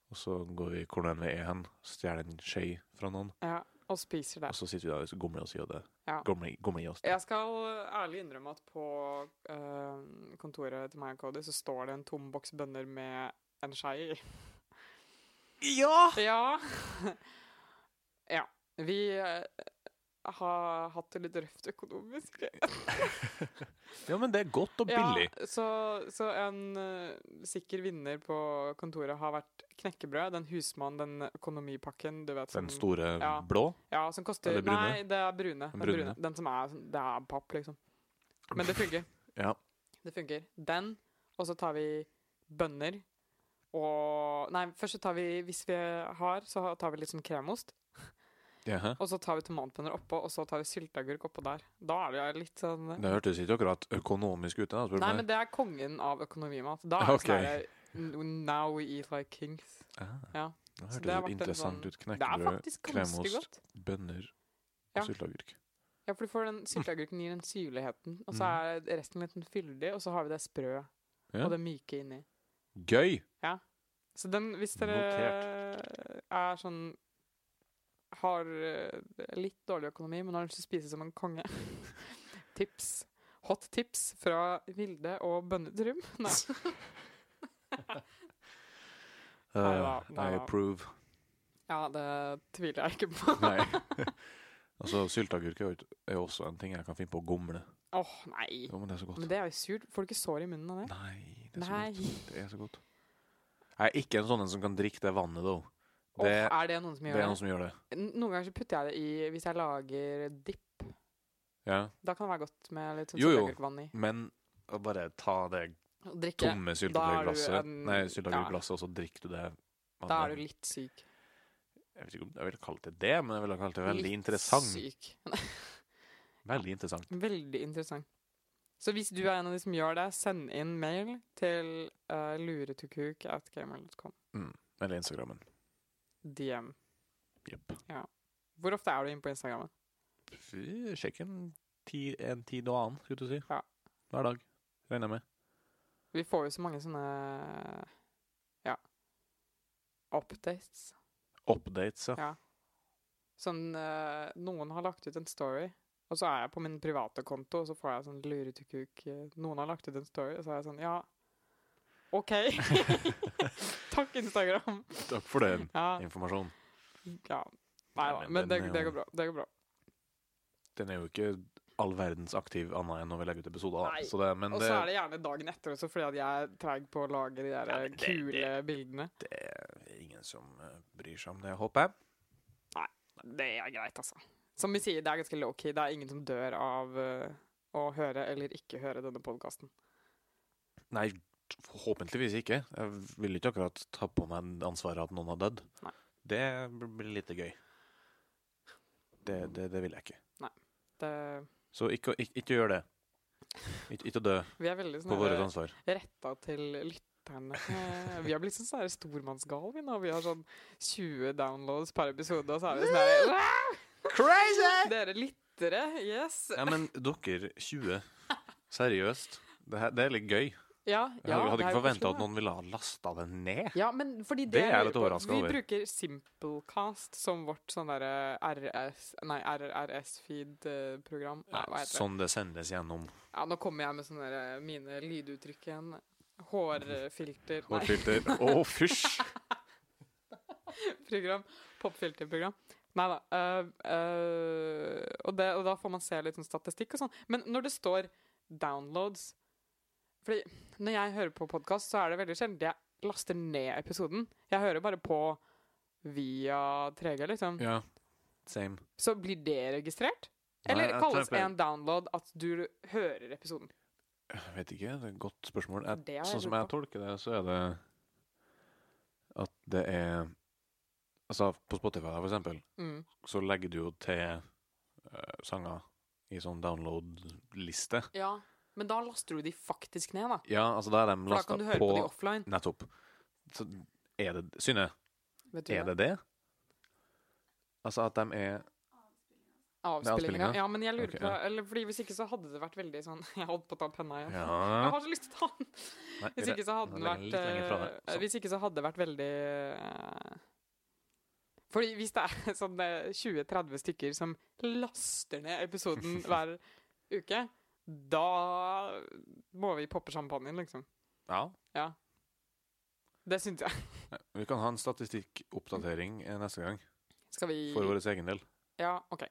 S2: Og så går vi hvor enn vi er hen, stjeler en skje fra noen.
S1: Ja, og spiser det.
S2: Og så sitter vi der og gomler oss i og det.
S1: Ja.
S2: Gomler, gomler i oss. det.
S1: Jeg skal ærlig innrømme at på eh, kontoret til meg og Cody så står det en tom boks bønner med en skei
S2: <laughs>
S1: i.
S2: Ja!
S1: Ja. ja. Vi eh, har hatt det litt røft økonomisk.
S2: men det er godt og billig.
S1: Ja, så, så en eh, sikker vinner på kontoret har vært knekkebrød. Den husmann, den økonomipakken, du vet.
S2: Den
S1: som-
S2: store
S1: Ja.
S2: blå.
S1: Ja, som koster
S2: eller brune?
S1: Nei, det er brune. Den,
S2: brune.
S1: brune. den som er sånn- Det er papp, liksom. Men det funker.
S2: Ja.
S1: Det funker. Den, og så tar vi bønner. og Nei, først så tar vi Hvis vi har, så tar vi litt sånn kremost.
S2: Jaha.
S1: Og så tar vi tomatbønner oppå, og så tar vi sylteagurk oppå der. Da er det jo litt sånn
S2: Det hørtes ikke akkurat økonomisk ut. da, spør du
S1: Nei,
S2: meg.
S1: men det er kongen av økonomimat. Da er det
S2: Ok.
S1: sånn her, "N- Now we eat like kings.
S2: Ah,
S1: Ja.
S2: Det
S1: Så
S2: hørtes
S1: det har
S2: litt
S1: vært en
S2: interessant
S1: sånn-
S2: ut.
S1: Det er
S2: Knekkebrød,
S1: faktisk ganske
S2: kremost.
S1: godt.
S2: bønner
S1: Ja.
S2: og sylteagurk.
S1: Ja, for du får den sylteagurken gir den syrligheten, og så er resten litt fyldig, og så har vi det sprø
S2: Mm. Ja.
S1: og det myke inni.
S2: Gøy!
S1: Så den, hvis dere er sånn Har eh, litt dårlig økonomi, men har lyst til å spise som en konge <laughs> Tips. Hot tips fra Vilde og Bønnetrum. <laughs> Nei.
S2: <laughs>
S1: Neida,
S2: Eh, I
S1: neida.
S2: approve.
S1: Ja, det tviler jeg ikke på.
S2: Nei. <laughs> altså, sylteagurk er jo ikke- er jo også en ting jeg kan finne på å gomle.
S1: Åh, nei.
S2: Jo, men det er så godt.
S1: Men det er jo surt. Får du ikke sår i munnen av det?
S2: Nei, det er
S1: Nei.
S2: så godt. Det er så godt. Jeg er ikke en sånn en som kan drikke det vannet, da.
S1: Åh,
S2: Det,
S1: er det noen som
S2: det
S1: gjør
S2: er
S1: det?
S2: noen som gjør det.
S1: N- Noen ganger så putter jeg det i Hvis jeg lager dipp,
S2: Ja.
S1: da kan det være godt med litt sånn
S2: Jo, jo.
S1: sylteagurkvann i.
S2: Men å bare ta det
S1: Å drikke. Da
S2: tomme
S1: er du
S2: sylteagurkglasset,
S1: en-
S2: Nei, sylteagurkglasset, og så drikker du det vannet.
S1: Da er du litt syk.
S2: Jeg vet ikke om jeg ville kalt det det, men jeg ville kalt det veldig
S1: Litt
S2: interessant.
S1: Syk.
S2: Veldig interessant.
S1: Veldig interessant. Så hvis du er en av de som gjør det, send inn mail til uh, luretukuk at gmail.com.
S2: Eller Instagrammen.
S1: DM.
S2: Jepp.
S1: Hvor ofte er du inne på Instagram?
S2: Fy, Sjekk en ti, en tid og annen, skulle du si.
S1: Ja.
S2: Hver dag, regner jeg med.
S1: Vi får jo så mange sånne ja updates.
S2: Updates, ja.
S1: Ja. Sånn eh, Noen har lagt ut en story, og så er jeg på min private konto, og så får jeg sånn luretukuk eh, Noen har lagt ut en story, og så er jeg sånn Ja, OK. <laughs> Takk, Instagram.
S2: Takk for det.
S1: Ja,
S2: Informasjonen.
S1: ja. Nei da,
S2: Nei, men eh,
S1: men det,
S2: den er
S1: det
S2: jo-
S1: går bra. Det går bra.
S2: Den er jo ikke all verdens aktiv annet enn når vi legger ut episoder. da.
S1: Nei.
S2: Så det, men
S1: Og
S2: det,
S1: så er det gjerne dagen etter også, fordi at jeg er treig på å lage de der eh,
S2: Ja, men det-
S1: kule bildene.
S2: det er ingen som eh, bryr seg om det, håper jeg.
S1: Det er greit, altså. Som vi sier, det er ganske low-key. Det er ingen som dør av eh, å høre eller ikke høre denne podkasten.
S2: Nei, forhåpentligvis ikke. Jeg vil ikke akkurat ta på meg ansvaret at noen har dødd.
S1: Nei.
S2: Det bl- blir lite gøy. Det, det, det vil jeg ikke.
S1: Vi
S2: Så ikke, ikke, ikke gjør det. Ikke, ikke dø
S1: er veldig
S2: på vårt
S1: sånn
S2: ansvar.
S1: retta til lytterne. Eh, Vi har blitt sånn sånn her stormannsgal, vi nå. Vi har sånn 20 downloads per episode, og så er vi sånn her
S2: Crazy!
S1: Dere lyttere, yes! <laughs>
S2: Ja, men dere 20, seriøst. Det, her, det er litt gøy.
S1: Ja,
S2: Jeg
S1: ja,
S2: hadde- hadde
S1: det er
S2: ikke
S1: jo
S2: forventa
S1: koselig,
S2: at
S1: da.
S2: noen ville ha lasta det ned.
S1: Ja, men fordi det,
S2: Det er jeg
S1: lurer
S2: litt
S1: på.
S2: overrasket over.
S1: Vi bruker Simplecast som vårt sånn derre RS Nei, RRS-feed-program. Nei, hva heter det?
S2: Sånn det sendes gjennom
S1: Ja, nå kommer jeg med sånne derre mine lyduttrykk igjen. Hårfilter Nei,
S2: hårfilter.
S1: <laughs>
S2: Å, fysj!
S1: program. Popfilterprogram. Nei da. øh, øh, og, det- og da får man se litt sånn statistikk og sånn. Men når det står downloads Fordi når jeg hører på podkast, så er det veldig sjelden jeg laster ned episoden. Jeg hører bare på via 3G, liksom.
S2: Ja, same.
S1: Så blir det registrert?
S2: Nei,
S1: Eller
S2: jeg
S1: kalles
S2: tror jeg-
S1: en download at du hører episoden?
S2: Jeg vet ikke, det er et godt spørsmål. Jeg,
S1: Det har jeg
S2: sånn som
S1: lurt
S2: jeg tolker det, så er det at det er Altså, på Spotify, for eksempel,
S1: Mm.
S2: så legger du jo til eh, sanger i sånn download-liste.
S1: Ja. Men da laster du de faktisk ned, da.
S2: Ja, altså, da er de
S1: For da
S2: lasta
S1: kan du høre på, de offline.
S2: Nettopp. Så er det Synne,
S1: Vet du
S2: er det det? Altså at de er
S1: Avspillinga.
S2: avspillinga?
S1: Ja, men jeg lurer
S2: Ok,
S1: på
S2: ja.
S1: eller, Fordi Hvis ikke så hadde det vært veldig sånn <laughs> Jeg holdt på å ta penna igjen. Jeg
S2: Ja
S1: har så lyst til å ta den!
S2: Nei,
S1: Hvis ikke så hadde den
S2: den er
S1: vært
S2: litt lenger fra deg.
S1: eh,
S2: Sånn.
S1: Hvis ikke så hadde det vært veldig eh, Fordi hvis det er <laughs> sånn eh, 20-30 stykker som laster ned
S2: <laughs>
S1: episoden hver uke, da må vi poppe champagnen, liksom.
S2: ja.
S1: Det syns jeg.
S2: Vi kan ha en statistikkoppdatering eh, neste gang,
S1: Skal vi
S2: for vår egen del.
S1: Ja, OK.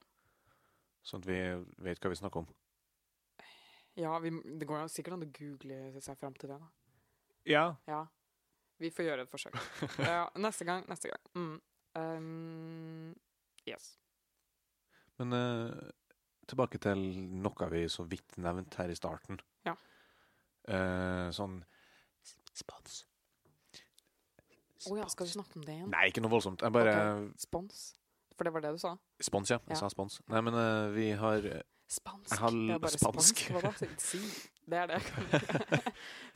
S2: Sånn at vi vet hva vi snakker om.
S1: Ja, vi, det går jo sikkert an å google seg fram til det, da.
S2: Ja.
S1: Ja. Vi får gjøre et
S2: <laughs>
S1: forsøk. ja, neste gang, neste gang. Mm. Um, yes.
S2: Men eh, tilbake til noe vi så vidt nevnte her i starten.
S1: Ja.
S2: Eh, sånn Spons.
S1: Å ja, skal vi snakke om det igjen?
S2: Nei, ikke noe voldsomt. Jeg bare
S1: Spons? For det var det du sa?
S2: Spons, ja. Jeg
S1: Ja.
S2: sa spons. Nei, men eh, vi har
S1: Spansk.
S2: Jeg har l-
S1: Det er bare
S2: spansk.
S1: Hva da? Si- Si. Det
S2: <laughs>
S1: er det. <laughs>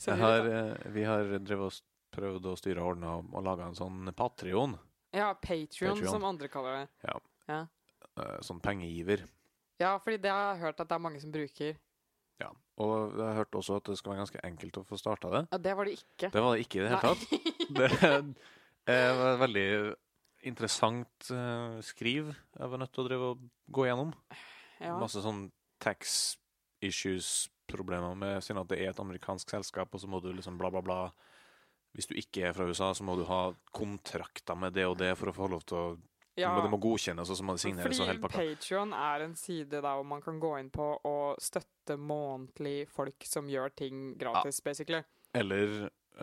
S2: Jeg har, eh, vi har drevet og s- prøvd å styre og ordne og, og laga en sånn Patrion.
S1: Ja, Patrion,
S2: Patreon.
S1: som andre kaller det.
S2: eh, sånn pengegiver.
S1: Ja, fordi det har jeg hørt at det er mange som bruker.
S2: Ja. Og jeg hørte også at det skal være ganske enkelt å få starta det.
S1: Ja, det var det ikke.
S2: Det var det ikke i det hele
S1: Nei.
S2: tatt. Det eh, var et veldig interessant eh, skriv jeg var nødt til å drive og gå gjennom.
S1: Ja.
S2: Masse sånn tax issues-problemer med siden at det er et amerikansk selskap, og så må du liksom bla, bla, bla. Hvis du ikke er fra USA, så må du ha kontrakter med det og det for å få lov til å
S1: ja.
S2: Det må signes, og så må det signeres og
S1: Fordi
S2: hele pakka.
S1: Patreon er en side der hvor man kan gå inn på og støtte månedlig folk som gjør ting gratis, basically.
S2: Eller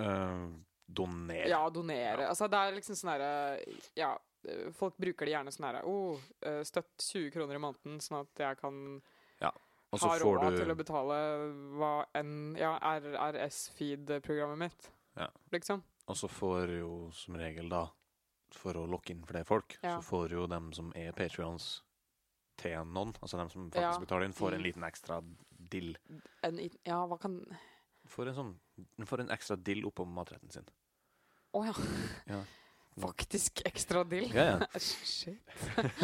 S2: eh, donere.
S1: Ja, donere. Altså, det er liksom sånn herre Ja, eh, folk bruker det gjerne sånn herre oh, eh, Støtt 20 kroner i måneden, sånn at jeg kan
S2: og så
S1: ha
S2: får
S1: råd til å
S2: du
S1: betale hva enn Ja, RRS-feed-programmet mitt,
S2: Ja.
S1: liksom.
S2: Og så får jo som regel, da, for å lokke inn flere folk,
S1: Ja.
S2: så får jo dem som er Patreons til noen, altså dem som
S1: Ja.
S2: faktisk betaler inn, får
S1: Mm.
S2: en liten ekstra dill.
S1: En, i- ja, hva kan
S2: Får en sånn den får en ekstra dill oppå matretten sin.
S1: Å ja.
S2: Ja.
S1: <laughs> Faktisk ekstra dill.
S2: Ja, ja. <laughs>
S1: Shit.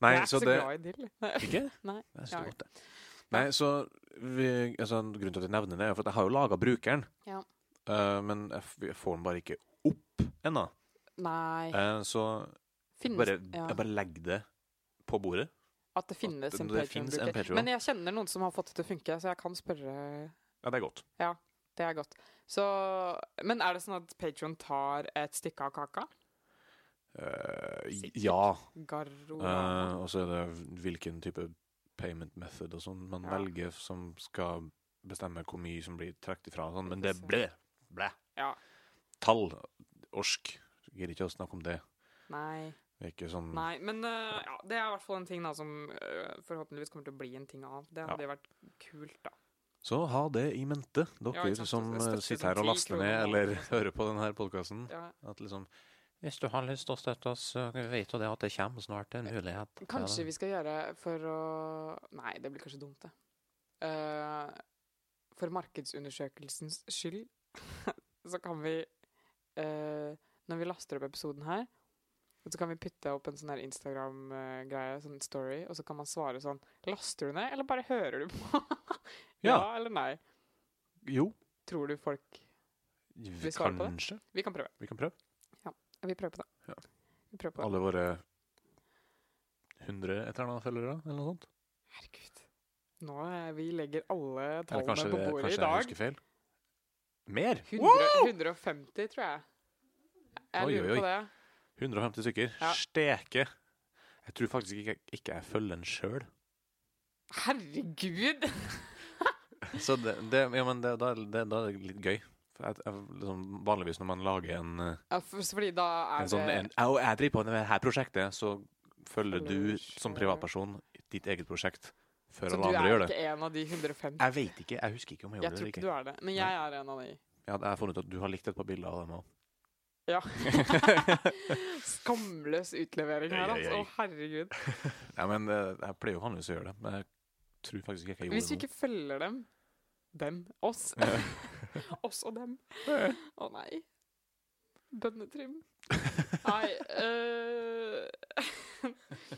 S2: Nei,
S1: jeg er
S2: så
S1: ikke så
S2: det
S1: glad i dill. Nei.
S2: Ikke?
S1: Nei.
S2: Jeg synes
S1: Ja.
S2: det er godt, det. Nei, så vi, altså, Grunnen til at jeg nevner det, er for at jeg har jo laga brukeren,
S1: Ja.
S2: Eh, men jeg, f jeg får den bare ikke opp ennå.
S1: Nei.
S2: Eh, så
S1: Finnes,
S2: bare,
S1: ja.
S2: jeg bare legger det på bordet.
S1: At det finnes
S2: at
S1: en
S2: det finnes en
S1: Patreon-bruker.
S2: Patreon.
S1: Men jeg kjenner noen som har fått det til å funke, så jeg kan spørre.
S2: Ja, det er godt.
S1: Det er godt. Så, men er det sånn at Patreon tar et stykke av kaka?
S2: Eh,
S1: Sikkert.
S2: ja.
S1: Garro
S2: Eh, og så er det hvilken type payment method og sånn man
S1: Ja.
S2: velger, som skal bestemme hvor mye som blir trukket ifra. og Sånn. Men
S1: Ikke
S2: det
S1: sant.
S2: ble blæ.
S1: Ja.
S2: Tall. Orsk. Gidder ikke å snakke om det.
S1: Nei.
S2: Det er ikke sånn
S1: Nei, men eh, ja, det er i hvert fall en ting da, som eh, forhåpentligvis kommer til å bli en ting av. Det hadde vært kult, da.
S2: Så ha det i mente,
S1: Ja,
S2: dere
S1: ikke sant.
S2: som
S1: Det
S2: eh,
S1: støtter
S2: sitter
S1: sånn
S2: her og
S1: 10
S2: laster ned
S1: kroner
S2: eller
S1: måneden og sånn.
S2: <laughs> hører på denne podkasten.
S1: Ja.
S2: At liksom Hvis du har lyst til å støtte oss, så vet du det at det kommer snart en mulighet. til
S1: Kanskje
S2: det.
S1: vi skal gjøre for å Nei, det blir kanskje dumt, det. Eh, for markedsundersøkelsens skyld <laughs> så kan vi eh, Når vi laster opp episoden her, så kan vi putte opp en sånn her Instagram-greie, sånn story, og så kan man svare sånn Laster du ned, eller bare hører du på? <laughs> ja.
S2: Ja.
S1: eller nei?
S2: Jo.
S1: Tror du folk
S2: Vi
S1: svare på det?
S2: Kanskje.
S1: Vi kan prøve.
S2: Vi kan prøve.
S1: Vi prøver på det.
S2: Ja.
S1: Vi prøver på det.
S2: Alle våre 100 et eller annet følgere, eller noe sånt.
S1: Herregud. Nå er vi legger alle
S2: Eller
S1: tallene
S2: kanskje,
S1: på
S2: det-
S1: bordet
S2: kanskje
S1: i dag.
S2: jeg husker feil. Mer?
S1: 100, 150, tror jeg. Jeg
S2: Oi,
S1: lurer
S2: oi,
S1: på det.
S2: 150 stykker.
S1: Ja.
S2: Steke. Jeg tror faktisk ikke, ikke jeg følger den sjøl.
S1: Herregud! <laughs>
S2: Så det, det, ja, men det, da, det, da er det litt gøy. For jeg, jeg, liksom, vanligvis når man lager en, eh,
S1: Ja, for, fordi da er
S2: en sånn
S1: det
S2: en, «Au, Jeg driver på med det her prosjektet, så følger
S1: Følger
S2: du
S1: selv.
S2: som privatperson ditt eget prosjekt før
S1: Så du
S2: alle andre
S1: er
S2: gjør det.
S1: ikke en av de 150?
S2: Jeg vet ikke. Jeg husker ikke om jeg
S1: Jeg
S2: gjorde det
S1: tror
S2: eller
S1: ikke
S2: ikke.
S1: du er det, men jeg er en av de.
S2: Ja, jeg har funnet ut at du har likt et par bilder av dem òg. <laughs>
S1: Ja. Skamløs utlevering her,
S2: Oi, oi,
S1: altså.
S2: oi.
S1: Å, herregud.
S2: Nei, men eh, jeg pleier jo vanligvis å gjøre det, men jeg tror faktisk ikke
S1: Hvis
S2: jeg
S1: vi
S2: gjorde det.
S1: ikke følger dem Dem. Oss. <laughs> oss og dem. Å nei. Bønnetrim. Nei
S2: <laughs>
S1: eh, <laughs>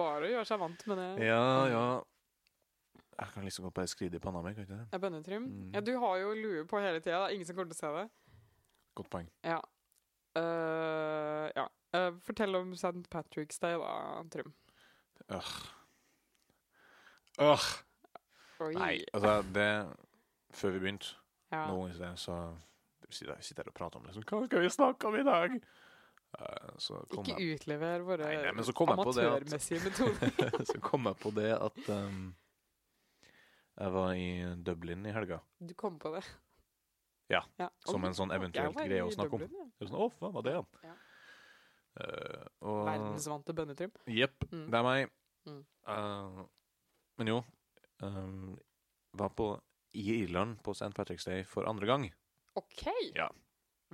S1: Bare å gjøre seg vant med det.
S2: nå. Ja, ja. Jeg kan liksom godt bare skride i panna mi, kan ikke det?
S1: Ja, bønnetrim.
S2: Mm.
S1: Ja, du har jo lue på hele tida. Ingen som kommer til å se det.
S2: Godt poeng.
S1: Ja. Eh, ja. Eh, fortell om St. Patrick's Day, da, Trym.
S2: Øh. Øh.
S1: Oi.
S2: Nei, altså, det Før vi begynte
S1: Ja.
S2: Noen ganger i sted, så sitter jeg sitter jeg og prater om det. Så, Hva skal vi snakke om i dag? Eh, Så kom,
S1: Ikke
S2: jeg,
S1: utlever våre
S2: Nei, nei, men så kom jeg på det at-
S1: amatørmessige
S2: <laughs>
S1: metoder.
S2: så kom jeg på det at ehm, jeg var i Dublin i helga,
S1: Du kom på det.
S2: Ja,
S1: Oi,
S2: som en sånn
S1: jeg
S2: eventuelt
S1: var
S2: greie å
S1: i
S2: snakke om.
S1: Dublin,
S2: Det er Sånn, Å, hva var det, da?
S1: Ja.
S2: Eh,
S1: ja.
S2: og
S1: Verdensvante bønnetrym.
S2: Jepp,
S1: Mm.
S2: det er meg.
S1: Mm.
S2: Eh, men jo ehm, Var på i Irland på St. Patrick's Day for andre gang.
S1: OK!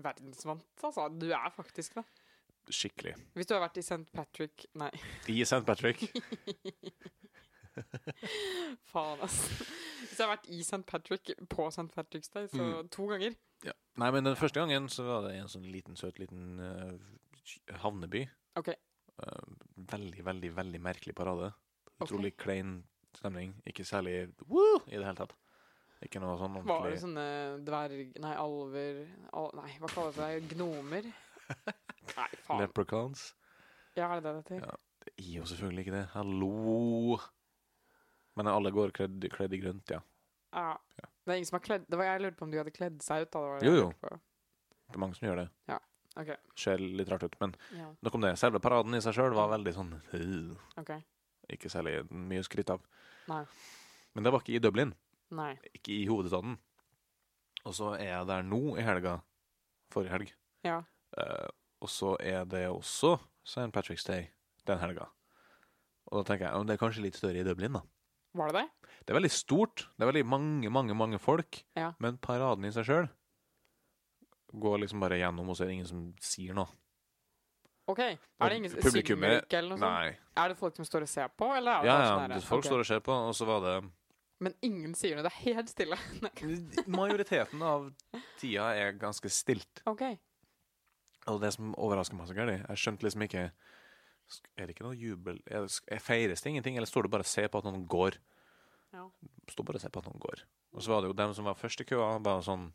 S1: verdensvant, altså. Du er faktisk det.
S2: Skikkelig.
S1: Hvis du har vært i St. Patrick Nei,
S2: I St.
S1: <laughs>
S2: Patrick.
S1: faen, ass. Hvis du har vært i St. Patrick på St. Patrick's Day, så
S2: Mm.
S1: to ganger
S2: Ja. Nei, men den første gangen så var det en sånn liten, søt liten eh, havneby.
S1: Ok.
S2: Eh, veldig, veldig, veldig merkelig parade. Utrolig klein stemning. Ikke særlig woo i det hele tatt. Ikke noe sånn
S1: var det
S2: ordentlig
S1: sånne dverg... Nei, alver al Nei, hva kalles det?
S2: <laughs>
S1: Gnomer? Nei, faen.
S2: leprechauns.
S1: Ja, er det det det heter?
S2: Ja. I jo selvfølgelig ikke det. Hallo! Men alle går kledd, kledd i grønt, ja.
S1: Ja. Det er ingen som har kledd Det var jeg lurte på om du hadde kledd seg ut, da. Det var det
S2: Jo,
S1: jeg
S2: jo.
S1: lurte på.
S2: Det er mange som gjør det.
S1: Ja, ok.
S2: Ser litt rart ut, men
S1: Ja,
S2: nok om det. Selve paraden i seg sjøl var veldig sånn øh,
S1: OK.
S2: Ikke særlig mye å skryte av.
S1: Nei.
S2: Men det var ikke i Dublin.
S1: Nei.
S2: Ikke i hovedstaden. Og så er jeg der nå i helga. Forrige helg.
S1: Ja.
S2: Eh, og så er det også St. Patrick's Day den helga. Og da tenker jeg ja, men det er kanskje litt større i Dublin, da.
S1: Var det det?
S2: Det er veldig stort. Det er veldig mange, mange mange folk.
S1: Ja.
S2: Men paraden i seg sjøl går liksom bare gjennom, og så er det ingen som sier noe.
S1: OK. Er det ingen
S2: Publikummet-
S1: Singlerike eller noe sånt?
S2: Nei.
S1: Er det folk som står og ser på, eller er det
S2: Ja,
S1: bare
S2: ja,
S1: sånn
S2: det-
S1: her?
S2: folk
S1: Ok.
S2: står og ser på, og så var det
S1: Men ingen sier noe. Det er helt stille. <laughs>
S2: Majoriteten av tida er ganske stilt.
S1: OK.
S2: Og det som overrasker meg så gærent, jeg skjønte liksom ikke sk- Er det ikke noe jubel er det, sk- er- Feires det ingenting, eller står det bare og ser på at noen går?
S1: Ja.
S2: Står bare og ser på at noen går. Og så var det jo dem som var først i køa, bare sånn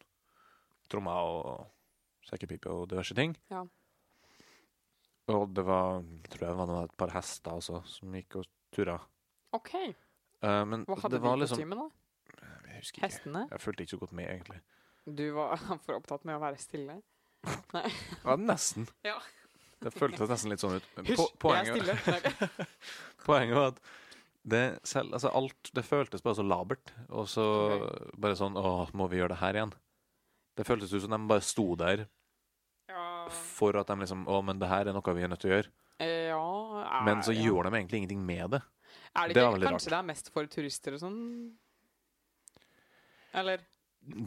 S2: trommer og sekkepipe og diverse ting.
S1: Ja.
S2: Og det var jeg tror jeg det var noe- et par hester også, som gikk og tura.
S1: OK.
S2: Eh, men
S1: Hva hadde
S2: det
S1: du
S2: var
S1: på
S2: liksom
S1: timen, da?
S2: Jeg husker ikke.
S1: Hestene?
S2: Jeg fulgte ikke så godt med, egentlig.
S1: Du var <laughs> for opptatt med å være stille.
S2: Ja, nesten.
S1: <laughs> Ja.
S2: Det føltes nesten litt sånn ut. Men
S1: Hysj,
S2: po- poenget-
S1: jeg er
S2: <laughs>
S1: stille.
S2: Poenget var at det, selv, altså alt, det føltes bare så labert. Og så bare sånn Å, må vi gjøre det her igjen? Det føltes ut som de bare sto der
S1: ja.
S2: for at de liksom Å, men det her er noe vi er nødt til å gjøre.
S1: Eh, ja er,
S2: Men så
S1: ja.
S2: gjorde de egentlig ingenting med det.
S1: er det,
S2: det
S1: ikke,
S2: var veldig
S1: Kanskje det er mest for turister og sånn? Eller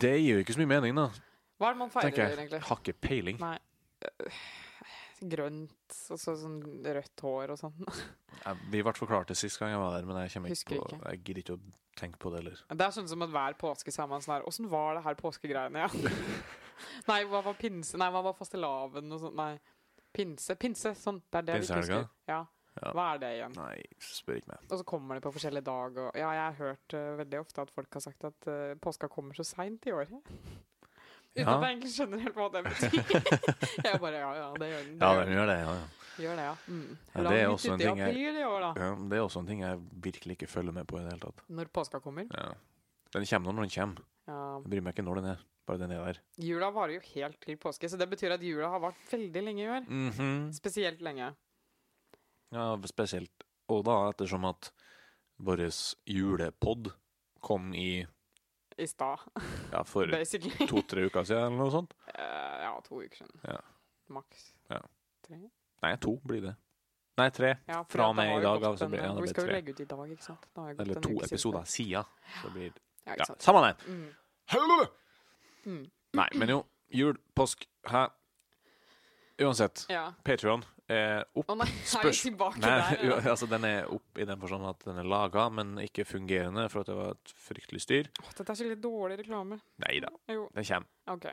S2: Det gir jo ikke så mye mening, da.
S1: hva er det man feirer,
S2: Tenker jeg.
S1: egentlig?
S2: Har ikke peiling.
S1: Nei. <sighs> Grønt og så sånn rødt hår og sånn. <laughs>
S2: Jeg, vi ble forklart det sist gang jeg var der, men jeg kommer
S1: Husker
S2: ikke på
S1: ikke.
S2: Jeg gidder ikke å tenke på det heller.
S1: Det er sånn som at hver påske så er man sånn her Åssen var det her påskegreiene, <laughs> ja? Nei, hva var pinse? Nei, hva var fastelavn og sånt? Nei. Pinse. Pinse. Sånn. Det er det vi
S2: Pinsehelga?
S1: husker. Ja.
S2: Ja.
S1: Hva er det igjen?
S2: Nei, spør ikke meg.
S1: Og så kommer det på forskjellige dag og Ja, jeg har hørt eh, veldig ofte at folk har sagt at eh, påska kommer så seint i år. <laughs> Uten
S2: Ja.
S1: at jeg egentlig skjønner helt hva det
S2: <laughs>
S1: betyr. jeg bare ja, ja, det gjør den.
S2: Ja,
S1: gjør
S2: den gjør det. Ja, ja.
S1: Gjør det, ja. Mm.
S2: Ja, det
S1: Langt
S2: er også en
S1: ute i
S2: ting jeg-
S1: april i år, da.
S2: ja. men Det er også en ting jeg virkelig ikke følger med på i det hele tatt.
S1: Når påska kommer.
S2: Ja. Den kommer når den kommer.
S1: Ja.
S2: Jeg bryr meg ikke når den er. Bare den er der.
S1: Jula varer jo helt til påske, så det betyr at jula har vart veldig lenge i år.
S2: Mhm.
S1: Spesielt lenge.
S2: Ja, spesielt. Og da ettersom at vår julepod kom i
S1: I stad,
S2: ja, for
S1: basically.
S2: to-tre uker siden eller noe sånt.
S1: <laughs> Eh, ja, to uker siden.
S2: Ja.
S1: Maks.
S2: Nei, to blir det. Nei, tre.
S1: Ja, for
S2: Fra
S1: at
S2: og med
S1: har
S2: i
S1: jo
S2: dag
S1: gått
S2: av så
S1: en-
S2: blir- ja, det
S1: Vi
S2: blir
S1: skal jo
S2: tre.
S1: legge ut i dag, ikke sant? Da har jeg gått
S2: Eller
S1: en
S2: to
S1: uke siden.
S2: episoder siden. Så blir
S1: Ja, ikke
S2: Ja,
S1: sant?
S2: samme det.
S1: Mm. Mm.
S2: Nei, men jo. Jul, påsk, hæ? Uansett.
S1: Ja.
S2: Patreon er opp.
S1: Å nei, er vi
S2: Spørs-
S1: tilbake
S2: <laughs> Nei,
S1: der? Ja.
S2: altså den er opp i den forstand at den er laga, men ikke fungerende, for at det var et fryktelig styr.
S1: Åh, dette er skikkelig dårlig reklame.
S2: Nei da,
S1: Jo,
S2: den kommer.
S1: OK.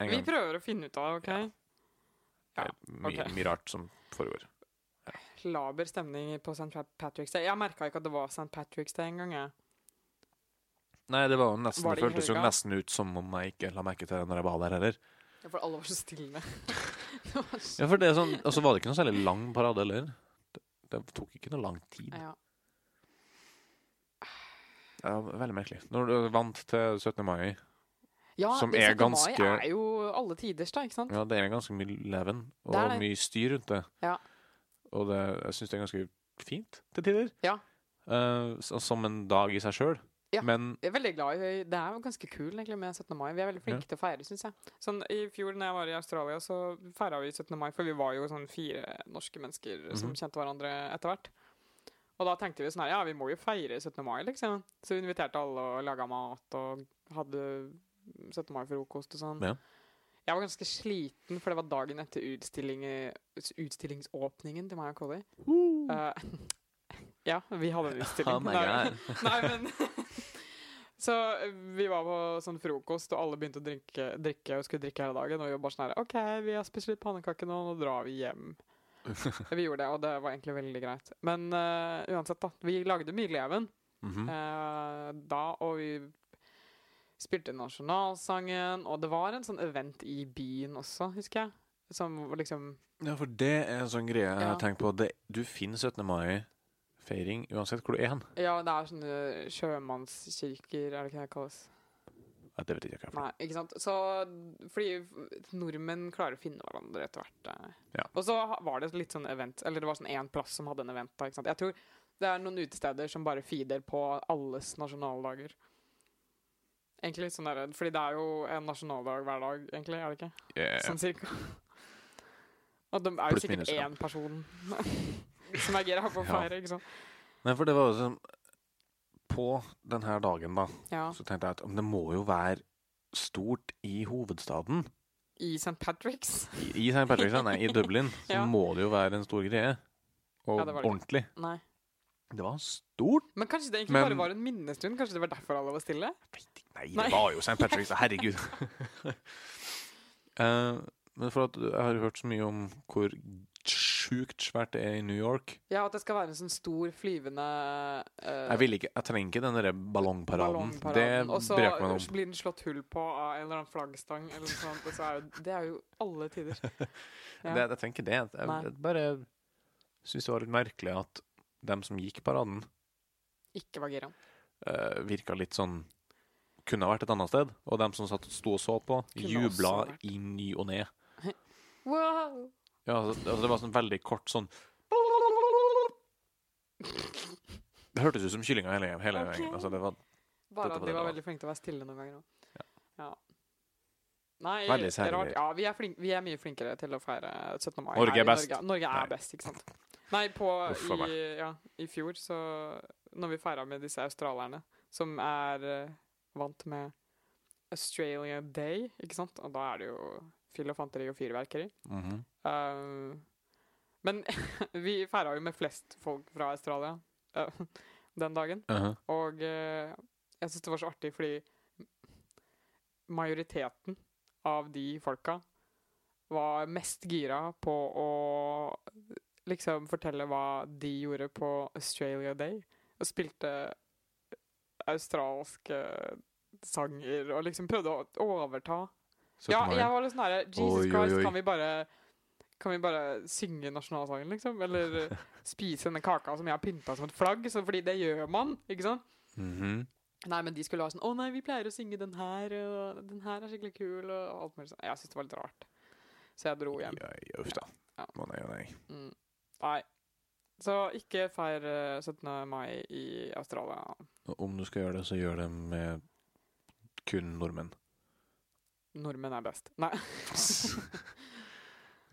S2: En
S1: Vi
S2: gang.
S1: prøver å finne ut av det, OK? Ja,
S2: Det er mye,
S1: ok.
S2: mye rart som foregår.
S1: Laber stemning på St. Pat- Patrick's Day. Jeg merka ikke at det var St. Patrick's Day engang, jeg.
S2: Nei, det var jo nesten
S1: Var det
S2: Det
S1: i
S2: føltes jo
S1: helga?
S2: nesten ut som om jeg ikke la merke til det når jeg var der heller.
S1: Ja, For alle var så <laughs> stille. Det var så-
S2: Ja, for det er sånn Og så var det ikke noe særlig lang parade heller. Det, det tok ikke noe lang tid.
S1: ja.
S2: Ja, veldig merkelig. Når du er vant til 17. mai
S1: ja
S2: Som
S1: men
S2: er
S1: 17.
S2: ganske-
S1: mai er jo alle tiders, da, ikke sant?
S2: Ja, det er ganske mye leven og
S1: Det er det.
S2: mye styr rundt det.
S1: Ja.
S2: Og det, jeg syns det er ganske fint til tider.
S1: Ja.
S2: Eh, så- som en dag i seg sjøl.
S1: Ja.
S2: Men
S1: Jeg er veldig glad i Det er jo ganske kul egentlig med 17. mai. Vi er veldig flinke til å feire, syns jeg. Sånn, I fjor når jeg var i Australia, så feira vi 17. mai, for vi var jo sånn fire norske mennesker som
S2: Mhm.
S1: kjente hverandre etter hvert. Og da tenkte vi sånn her, ja, vi må jo feire 17. mai, liksom. Så vi inviterte alle og laga mat og hadde 17. mai-frokost og sånn.
S2: Ja.
S1: Jeg var ganske sliten, for det var dagen etter utstilling, utstillingsåpningen til Maya Collie. Eh, <laughs> ja, vi hadde en utstilling.
S2: Mm. <laughs> Oh my
S1: Nei, <laughs>
S2: god.
S1: Nei, men Så eh, vi var på sånn frokost, og alle begynte å drikke, drikke og skulle drikke hele dagen. Og vi var bare sånn her OK, vi har spist litt pannekaker nå, nå drar vi hjem. vi gjorde det, og det var egentlig veldig greit. Men eh, uansett, da. Vi lagde mye leven
S2: Mhm.
S1: eh, da, og vi spilte nasjonalsangen, og det var en sånn event i byen også, husker jeg. Som var liksom
S2: Ja, for det er en sånn greie jeg har
S1: Ja.
S2: tenkt på. Det, du finner 17. mai-feiring uansett hvor du er hen.
S1: Ja, det er sånne sjømannskirker, er det ikke det det kalles?
S2: Ja, det vet jeg ikke hva
S1: Nei, ikke sant? Så, fordi f- nordmenn klarer å finne hverandre etter hvert. eh.
S2: Ja.
S1: Og så ha- var det litt sånn event, eller det var sånn én plass som hadde en event. da, Ikke sant? Jeg tror det er noen utesteder som bare feeder på alles nasjonaldager. Egentlig litt sånn der, fordi det er jo en nasjonaldag hver dag, egentlig, er det ikke?
S2: for. Yeah.
S1: Sånn cirka. <laughs> Og de er jo
S2: Pluss
S1: sikkert
S2: minus, ja.
S1: én person <laughs> som er gira på å
S2: Ja.
S1: feire, ikke sant?
S2: Nei, for det var jo sånn På denne dagen, da,
S1: Ja.
S2: så tenkte jeg at men det må jo være stort i hovedstaden.
S1: I St. Patrick's.
S2: I- I St. Patrick's, nei, i Dublin, så
S1: Ja.
S2: må det jo være en stor greie. Og
S1: Ja, det var det.
S2: ordentlig.
S1: Nei.
S2: Det var stort.
S1: Men kanskje det egentlig
S2: Men-
S1: bare var en minnestund? Kanskje det var derfor alle var stille?
S2: Nei, det
S1: Nei.
S2: var jo St. Patrick's,
S1: <laughs>
S2: herregud. Eh, men for at jeg har hørt så mye om hvor sjukt svært det er i New York.
S1: Ja, at det skal være en sånn stor flyvende eh,
S2: Jeg, vil ikke, jeg trenger ikke den derre ballongparaden.
S1: ballongparaden.
S2: Det bryr jeg ikke meg
S1: Og
S2: om.
S1: så blir den slått hull på av en eller annen flaggstang. Eller noe sånt, og så er jo, det er jo alle tider. Ja.
S2: Det, jeg tenker det. Jeg,
S1: Nei.
S2: jeg bare syns det var litt merkelig at dem som gikk paraden,
S1: Ikke var gira.
S2: uh, virka litt sånn Kunne ha vært et annet sted. Og dem som satt sto og så på,
S1: Kunne også
S2: jubla
S1: vært.
S2: i ny og ne.
S1: Wow! <laughs>
S2: Ja, altså, altså, det var sånn veldig kort sånn Det hørtes ut som kyllinga hele, hele
S1: Ok.
S2: gjengen. Altså, det var Dette
S1: Bare at
S2: var
S1: de
S2: det
S1: var
S2: det
S1: veldig flinke til å være stille noen ganger òg. Ja. Nei, det
S2: Veldig
S1: er
S2: særlig.
S1: rart. Ja, vi er, flink, vi er mye flinkere til å feire 17. mai.
S2: Norge
S1: her
S2: er
S1: i
S2: best.
S1: Norge, Norge
S2: Nei.
S1: er best, ikke sant. Nei, på,
S2: Uff a
S1: i, ja, i fjor, så Når vi feira med disse australierne, som er eh, vant med Australia Day, ikke sant, og da er det jo fyll og fanteri og fyrverkeri.
S2: mhm.
S1: Eh, men <laughs> vi feira jo med flest folk fra Australia eh, den dagen.
S2: Mhm.
S1: Og eh, jeg syns det var så artig fordi majoriteten av de folka var mest gira på å liksom fortelle hva de gjorde på Australia Day. Og spilte australske sanger og liksom prøvde å overta.
S2: 17.
S1: Ja,
S2: mai.
S1: jeg var litt sånn herre Jesus
S2: Oi, oi,
S1: Christ,
S2: oi.
S1: kan vi bare kan vi bare synge nasjonalsangen, liksom? Eller
S2: <laughs>
S1: eh, spise denne kaka som jeg har pynta som et flagg? Så fordi det gjør man, ikke sant?
S2: Mhm.
S1: Nei, men de skulle være sånn 'Å nei, vi pleier å synge den her, og den her er skikkelig kul', og alt mulig sånn. Jeg syntes det var litt rart. Så jeg dro hjem.
S2: Ja, ja, Uff da.
S1: Ja.
S2: Å nei, å nei.
S1: Mm. Nei. Så ikke feir eh, 17. mai i Australia.
S2: Og Om du skal gjøre det, så gjør det med kun nordmenn.
S1: Nordmenn er best. Nei.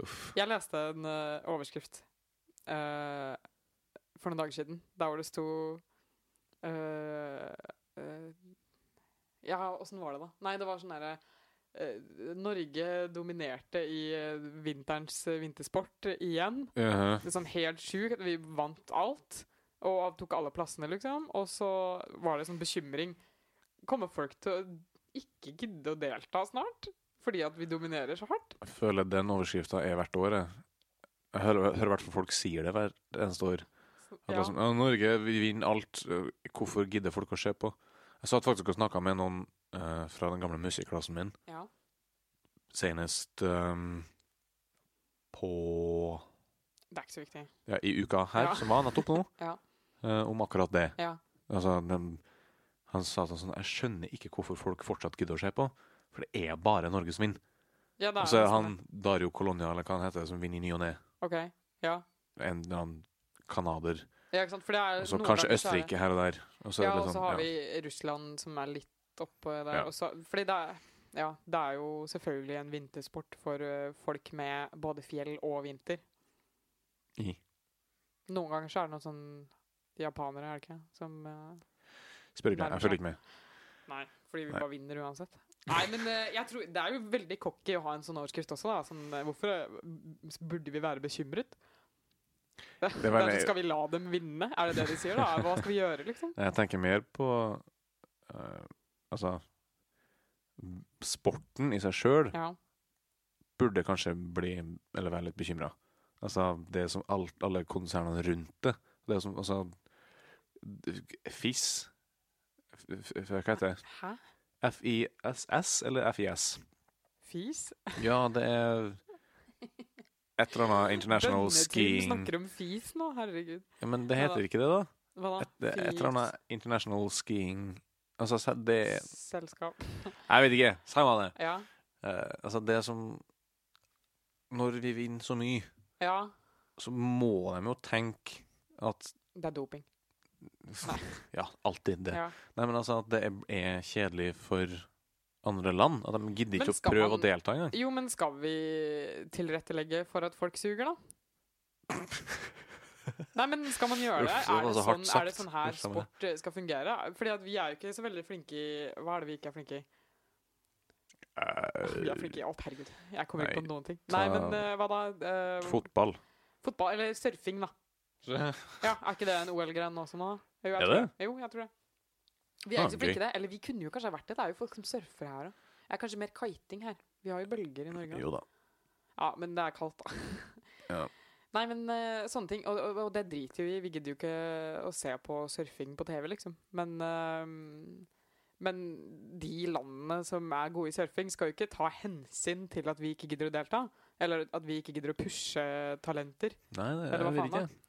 S2: Uff.
S1: Jeg leste en eh, overskrift eh, for noen dager siden, der hvor det sto eh, eh, Ja, åssen var det, da? Nei, det var sånn derre eh, Norge dominerte i eh, vinterens eh, vintersport igjen.
S2: Mhm.
S1: Det er sånn helt sjukt. Vi vant alt og tok alle plassene, liksom. Og så var det sånn bekymring. Kommer folk til å ikke gidde å delta snart? Fordi at vi dominerer så hardt?
S2: Jeg føler den overskrifta er hvert år. Jeg, jeg hører hører i hvert fall folk sier det hvert eneste år. At det er sånn, «Ja, Norge vi vinner alt. øh, Hvorfor gidder folk å se på? Jeg satt faktisk og snakka med noen øh, fra den gamle musikklassen min
S1: ja.
S2: senest øhm, på
S1: Det er ikke så viktig.
S2: ja, i uka her,
S1: Ja.
S2: som var nettopp nå,
S1: Ja.
S2: øh, om akkurat det.
S1: Ja.
S2: Altså, den, han sa sånn sånn Jeg skjønner ikke hvorfor folk fortsatt gidder å se på, for det er bare Norge som vinner.
S1: Ja, det
S2: Og
S1: er
S2: så er
S1: nesten
S2: Altså, han Dario Colonia, eller hva han heter, som vinner i ny og ne.
S1: det. OK. Ja.
S2: En eller annen Kanader
S1: ja, ikke sant. For det er
S2: Og
S1: noen
S2: så Altså,
S1: ganger så
S2: kanskje
S1: er det-
S2: Østerrike her og der. Og så er
S1: Ja,
S2: det
S1: og så
S2: sånn,
S1: har
S2: ja.
S1: vi Russland som er litt oppå der.
S2: Ja.
S1: Og så, fordi det er, ja, det er jo selvfølgelig en vintersport for ø, folk med både fjell og vinter.
S2: I.
S1: Noen ganger så er det noen sånn japanere, er det ikke? Som ø,
S2: Spør ikke meg.
S1: Nærmere.
S2: Jeg følger ikke med.
S1: Nei, fordi vi
S2: Nei.
S1: bare vinner uansett. Nei, men eh, jeg tror, det er jo veldig cocky å ha en sånn overskrift også. Da. Sånn, eh, hvorfor eh, burde vi være bekymret?
S2: <laughs>
S1: Det,
S2: Det var
S1: er
S2: det-
S1: sånn, skal vi la dem vinne? Er det det de sier? da? Hva skal vi gjøre,
S2: <laughs>
S1: liksom?
S2: Jeg tenker mer på eh, Altså m- Sporten i seg sjøl
S1: Ja.
S2: burde kanskje bli Eller være litt bekymra. Altså det som alt, alle konsernene rundt det. Det som Altså d- FIS F- f- Hva heter det?
S1: Hæ?
S2: FISS eller FIS?
S1: Fis?
S2: Ja, det er et eller annet International
S1: Bønneteam
S2: Skiing
S1: snakker om fis nå, herregud.
S2: ja, Men det
S1: Ja da.
S2: heter ikke det, da?
S1: Hva da?
S2: Et, det er et eller annet International Skiing Altså, se- det
S1: Selskap.
S2: Jeg vet ikke. Samme det.
S1: Ja.
S2: Eh, altså, det som Når vi vinner så mye,
S1: ja.
S2: så må de jo tenke at
S1: Det er doping.
S2: Ja, alltid det.
S1: Ja.
S2: Nei, men altså at det er, er kjedelig for andre land. At de gidder
S1: Men
S2: ikke å
S1: skal
S2: prøve
S1: man-
S2: å delta
S1: <laughs>
S2: engang.
S1: Jo, men skal vi tilrettelegge for at folk
S2: <laughs>
S1: suger, da? Nei, men skal man gjøre det?
S2: Uff, det
S1: Er
S2: var
S1: det,
S2: så hardt
S1: sånn, er det
S2: sagt.
S1: sånn her
S2: Uff, jeg mener.
S1: sport eh, skal fungere? Fordi at vi er jo ikke så veldig flinke i Hva er det vi ikke er flinke i? Åh, Vi er
S2: Eh,
S1: flinke i alt, herregud. Jeg kommer ikke
S2: Øh, nei,
S1: på noen ting. Nei,
S2: ta-
S1: men eh, hva da? Eh,
S2: Fotball.
S1: fotball? Eller surfing, da. <laughs> Ja, Er ikke det en OL-gren også nå? Jo, jeg
S2: Er
S1: tror
S2: det?
S1: Jo, jeg tror det. Vi er
S2: Ah,
S1: ikke så flinke
S2: gøy.
S1: i det. Eller vi kunne jo kanskje ha vært det. Det er jo folk som surfer her òg. Det er kanskje mer kiting her. Vi har jo bølger i Norge.
S2: Jo da.
S1: Ja, men det er kaldt, da.
S2: Ja.
S1: Nei, men eh, sånne ting. Og, og, og det driter jo vi i. Vi gidder jo ikke å se på surfing på TV, liksom. Men, eh, men de landene som er gode i surfing, skal jo ikke ta hensyn til at vi ikke gidder å delta. Eller at vi ikke gidder å pushe talenter.
S2: Nei, det,
S1: Eller hva
S2: jeg vet
S1: faen da?
S2: ikke.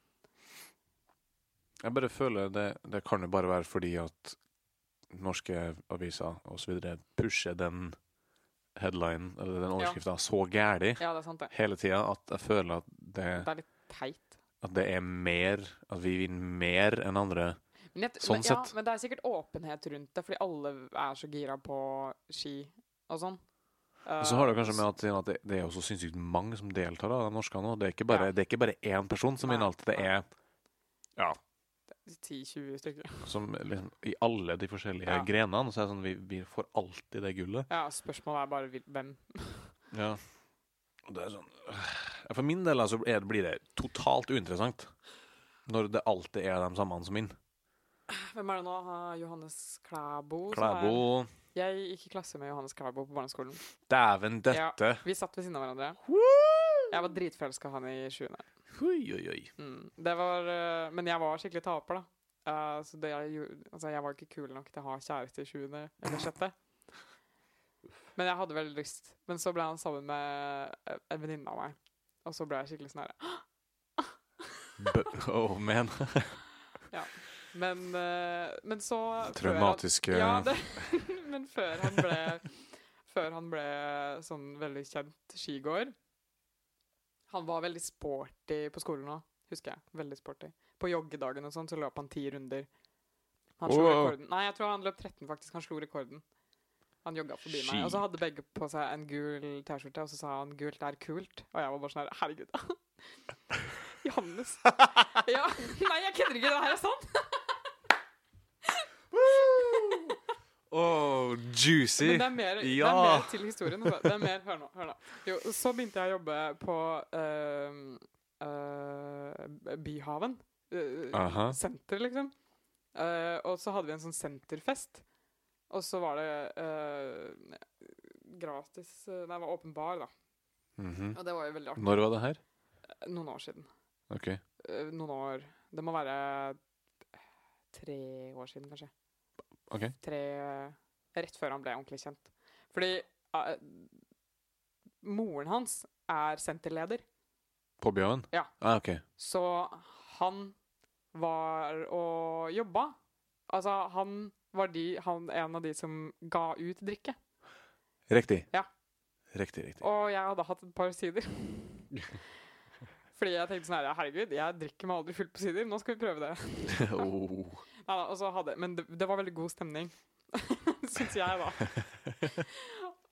S2: Jeg bare føler det, det kan jo bare være fordi at norske aviser osv. pusher den headlinen, eller den overskrifta, så gæli
S1: Ja, det er sant, det.
S2: hele tida at jeg føler at det,
S1: Det er litt teit.
S2: at det er mer At vi vinner mer enn andre.
S1: Men jeg, t-
S2: Sånn
S1: men, ja,
S2: sett.
S1: men det er sikkert åpenhet rundt det, fordi alle er så gira på ski og sånn.
S2: Og så har det kanskje med at, at det, det er jo så sinnssykt mange som deltar, da, de norske nå. Det er ikke bare,
S1: Ja.
S2: det er ikke bare én person som
S1: Nei,
S2: vinner alt. Det
S1: nei.
S2: er Ja.
S1: 10-20 Eh, stykker.
S2: Som liksom, I alle de forskjellige
S1: Ja.
S2: grenene. Så er det sånn vi, vi får alltid det gullet.
S1: Ja, spørsmålet er bare hvil- hvem.
S2: Ja. Og det er sånn Ja, For min del altså, er, blir det totalt uinteressant når det alltid er de samme som vinner.
S1: Hvem er det nå? Ha, Johannes Klæbo? som Er,
S2: Klæbo
S1: jeg gikk i klasse med Johannes Klæbo på barneskolen.
S2: Dæven, dette!
S1: Vi satt ved siden av hverandre. Jeg var dritforelska i han i sjuende.
S2: Oi, oi, oi.
S1: Mm. Det var eh, Men jeg var skikkelig taper, da. Eh, så det jeg, gjorde- altså, jeg var ikke kul nok til å ha kjæreste i sjuende eller sjette. Men jeg hadde veldig lyst. Men så ble han sammen med eh, en venninne av meg. Og så ble jeg skikkelig sånn her
S2: B <laughs> oh, man.
S1: Men, eh, men så før han-
S2: Traumatiske
S1: Ja,
S2: <laughs>
S1: det, <laughs> men før han ble Før han ble sånn veldig kjent skigåer Han var veldig sporty på skolen òg, husker jeg. Veldig sporty. På joggedagen og sånn så løp han ti runder. Han slo
S2: Wow.
S1: rekorden. Nei, jeg tror han løp 13, faktisk. Han slo rekorden. Han jogga forbi
S2: Shit.
S1: meg. Og så hadde begge på seg en gul T-skjorte, og så sa han 'gult er kult'. Og jeg var bare sånn her Herregud. <laughs> Johannes. Ja. <laughs> Nei, jeg kødder ikke. Det her er sant.
S2: Oh, juicy!
S1: Men det er mer, det er
S2: Ja.
S1: mer til historien. altså. Det er mer, hør nå. Hør nå. Jo, så begynte jeg å jobbe på eh, eh, Byhaven. eh,
S2: Aha.
S1: Senter, liksom. Eh, og så hadde vi en sånn senterfest. Og så var det eh, gratis eh, Nei, det var åpen bar, da.
S2: Mhm.
S1: Og det var jo veldig artig.
S2: Når var det her?
S1: Noen år siden.
S2: OK.
S1: Eh, noen år Det må være tre år siden, kanskje.
S2: ok
S1: tre Rett før han ble ordentlig kjent. Fordi eh, moren hans er senterleder,
S2: På Bjørn?
S1: Ja.
S2: Ah, OK.
S1: så han var og jobba. Altså, han var de, han, en av de som ga ut drikke.
S2: Riktig.
S1: Ja.
S2: Riktig, riktig. <laughs>
S1: Og jeg hadde hatt et par sider. Fordi jeg tenkte sånn her, ja, herregud, jeg drikker meg aldri fullt på sider, nå skal vi prøve det.
S2: oh.
S1: Neida, og så hadde, men det, det var veldig god stemning, <laughs> syns jeg, da.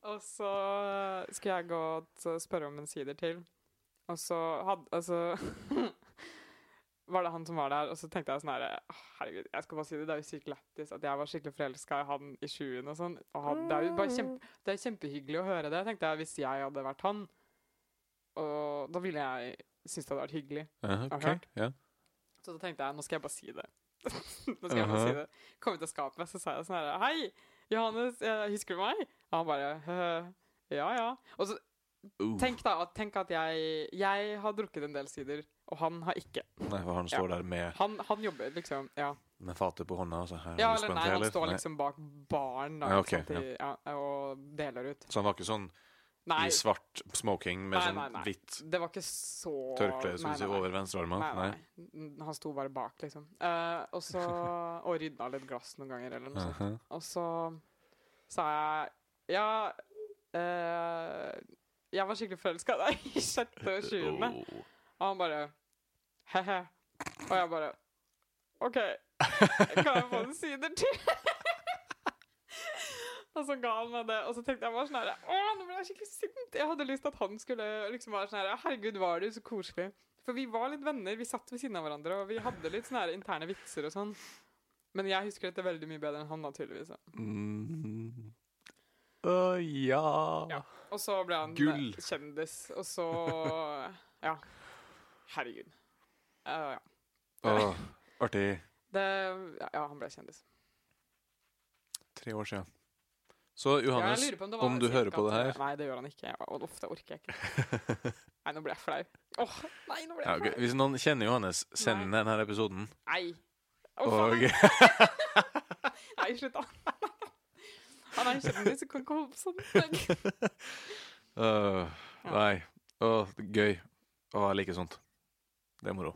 S1: og så skulle jeg gå og spørre om en sider til, og så hadde Altså <laughs> var det han som var der, og så tenkte jeg sånn her «Åh, Herregud, jeg skal bare si det, det er jo sykt lættis at jeg var skikkelig forelska i han i 20-en og sånn. Og han, det er jo bare kjempe, det er kjempehyggelig å høre det, tenkte jeg, hvis jeg hadde vært han. Og da ville jeg synes det hadde vært hyggelig.
S2: Ja, ok,
S1: Har hørt.
S2: ja.
S1: Så da tenkte jeg, nå skal jeg bare si det. <laughs> nå skal jeg bare si det. Kom ut av skapet, så sa jeg sånn her Hei, Johannes, eh, husker du meg? Og han bare «Høhø, Ja, ja. Og så
S2: Uh,
S1: tenk da, at- tenk at jeg, jeg har drukket en del sider, og han har ikke.
S2: Nei, for han står der med,
S1: Han, han jobber liksom, ja.
S2: med fatet på hånda. Og så, her,
S1: Ja,
S2: har
S1: eller
S2: du spent
S1: nei,
S2: det,
S1: han
S2: eller?
S1: står
S2: Nei.
S1: liksom bak baren da,
S2: Ja,
S1: ikke sant,
S2: ok,
S1: i, ja. og deler ut.
S2: Så han var ikke sånn
S1: Nei,
S2: i svart smoking med
S1: Nei,
S2: sånn
S1: nei, nei.
S2: hvitt
S1: det var ikke så
S2: tørkle som
S1: Nei,
S2: du sier,
S1: nei, nei.
S2: over venstrearmen?
S1: Nei,
S2: Nei.
S1: nei, nei. Han sto bare bak, liksom. Eh, og
S2: <laughs>
S1: så Og rydda litt glass noen ganger, eller noe sånt.
S2: Aha.
S1: Og så sa jeg Ja, eh, jeg var skikkelig forelska i deg i sjette og tjuende.
S2: <laughs> Oh.
S1: Og han bare He-he. Og jeg bare OK, kan jeg få en sider til? <laughs> og så ga han meg det, og så tenkte jeg bare sånn her Å, nå ble jeg skikkelig sint! Jeg hadde lyst til at han skulle liksom være sånn her Herregud, var du så koselig? For vi var litt venner, vi satt ved siden av hverandre, og vi hadde litt sånne her interne vitser og sånn. Men jeg husker dette veldig mye bedre enn han, naturligvis. da.
S2: Mm. Å, ja.
S1: Ja. Og så ble han
S2: Gull.
S1: eh, kjendis, og
S2: <laughs>
S1: så Ja. Herregud. Eh, ja.
S2: Å, artig.
S1: Det, ja, han ble kjendis.
S2: Tre år siden. Så Johannes,
S1: Ja, jeg lurer på det
S2: om du
S1: cirka
S2: hører på det her
S1: tre- Nei, det gjør han ikke. Og ofte orker jeg ikke. Nei, nå ble jeg flau. Åh, nei, nå ble
S2: ja,
S1: jeg
S2: ok.
S1: flau.
S2: Hvis noen kjenner Johannes, send inn denne episoden.
S1: Nei. Åh,
S2: Og
S1: faen, nei, slutt da. <laughs> Han er kjendis, du kan ikke holde på sånn. Nei.
S2: <laughs> Åh,
S1: Ja.
S2: Nei. Åh, det er gøy. Å, jeg liker sånt. Det er moro.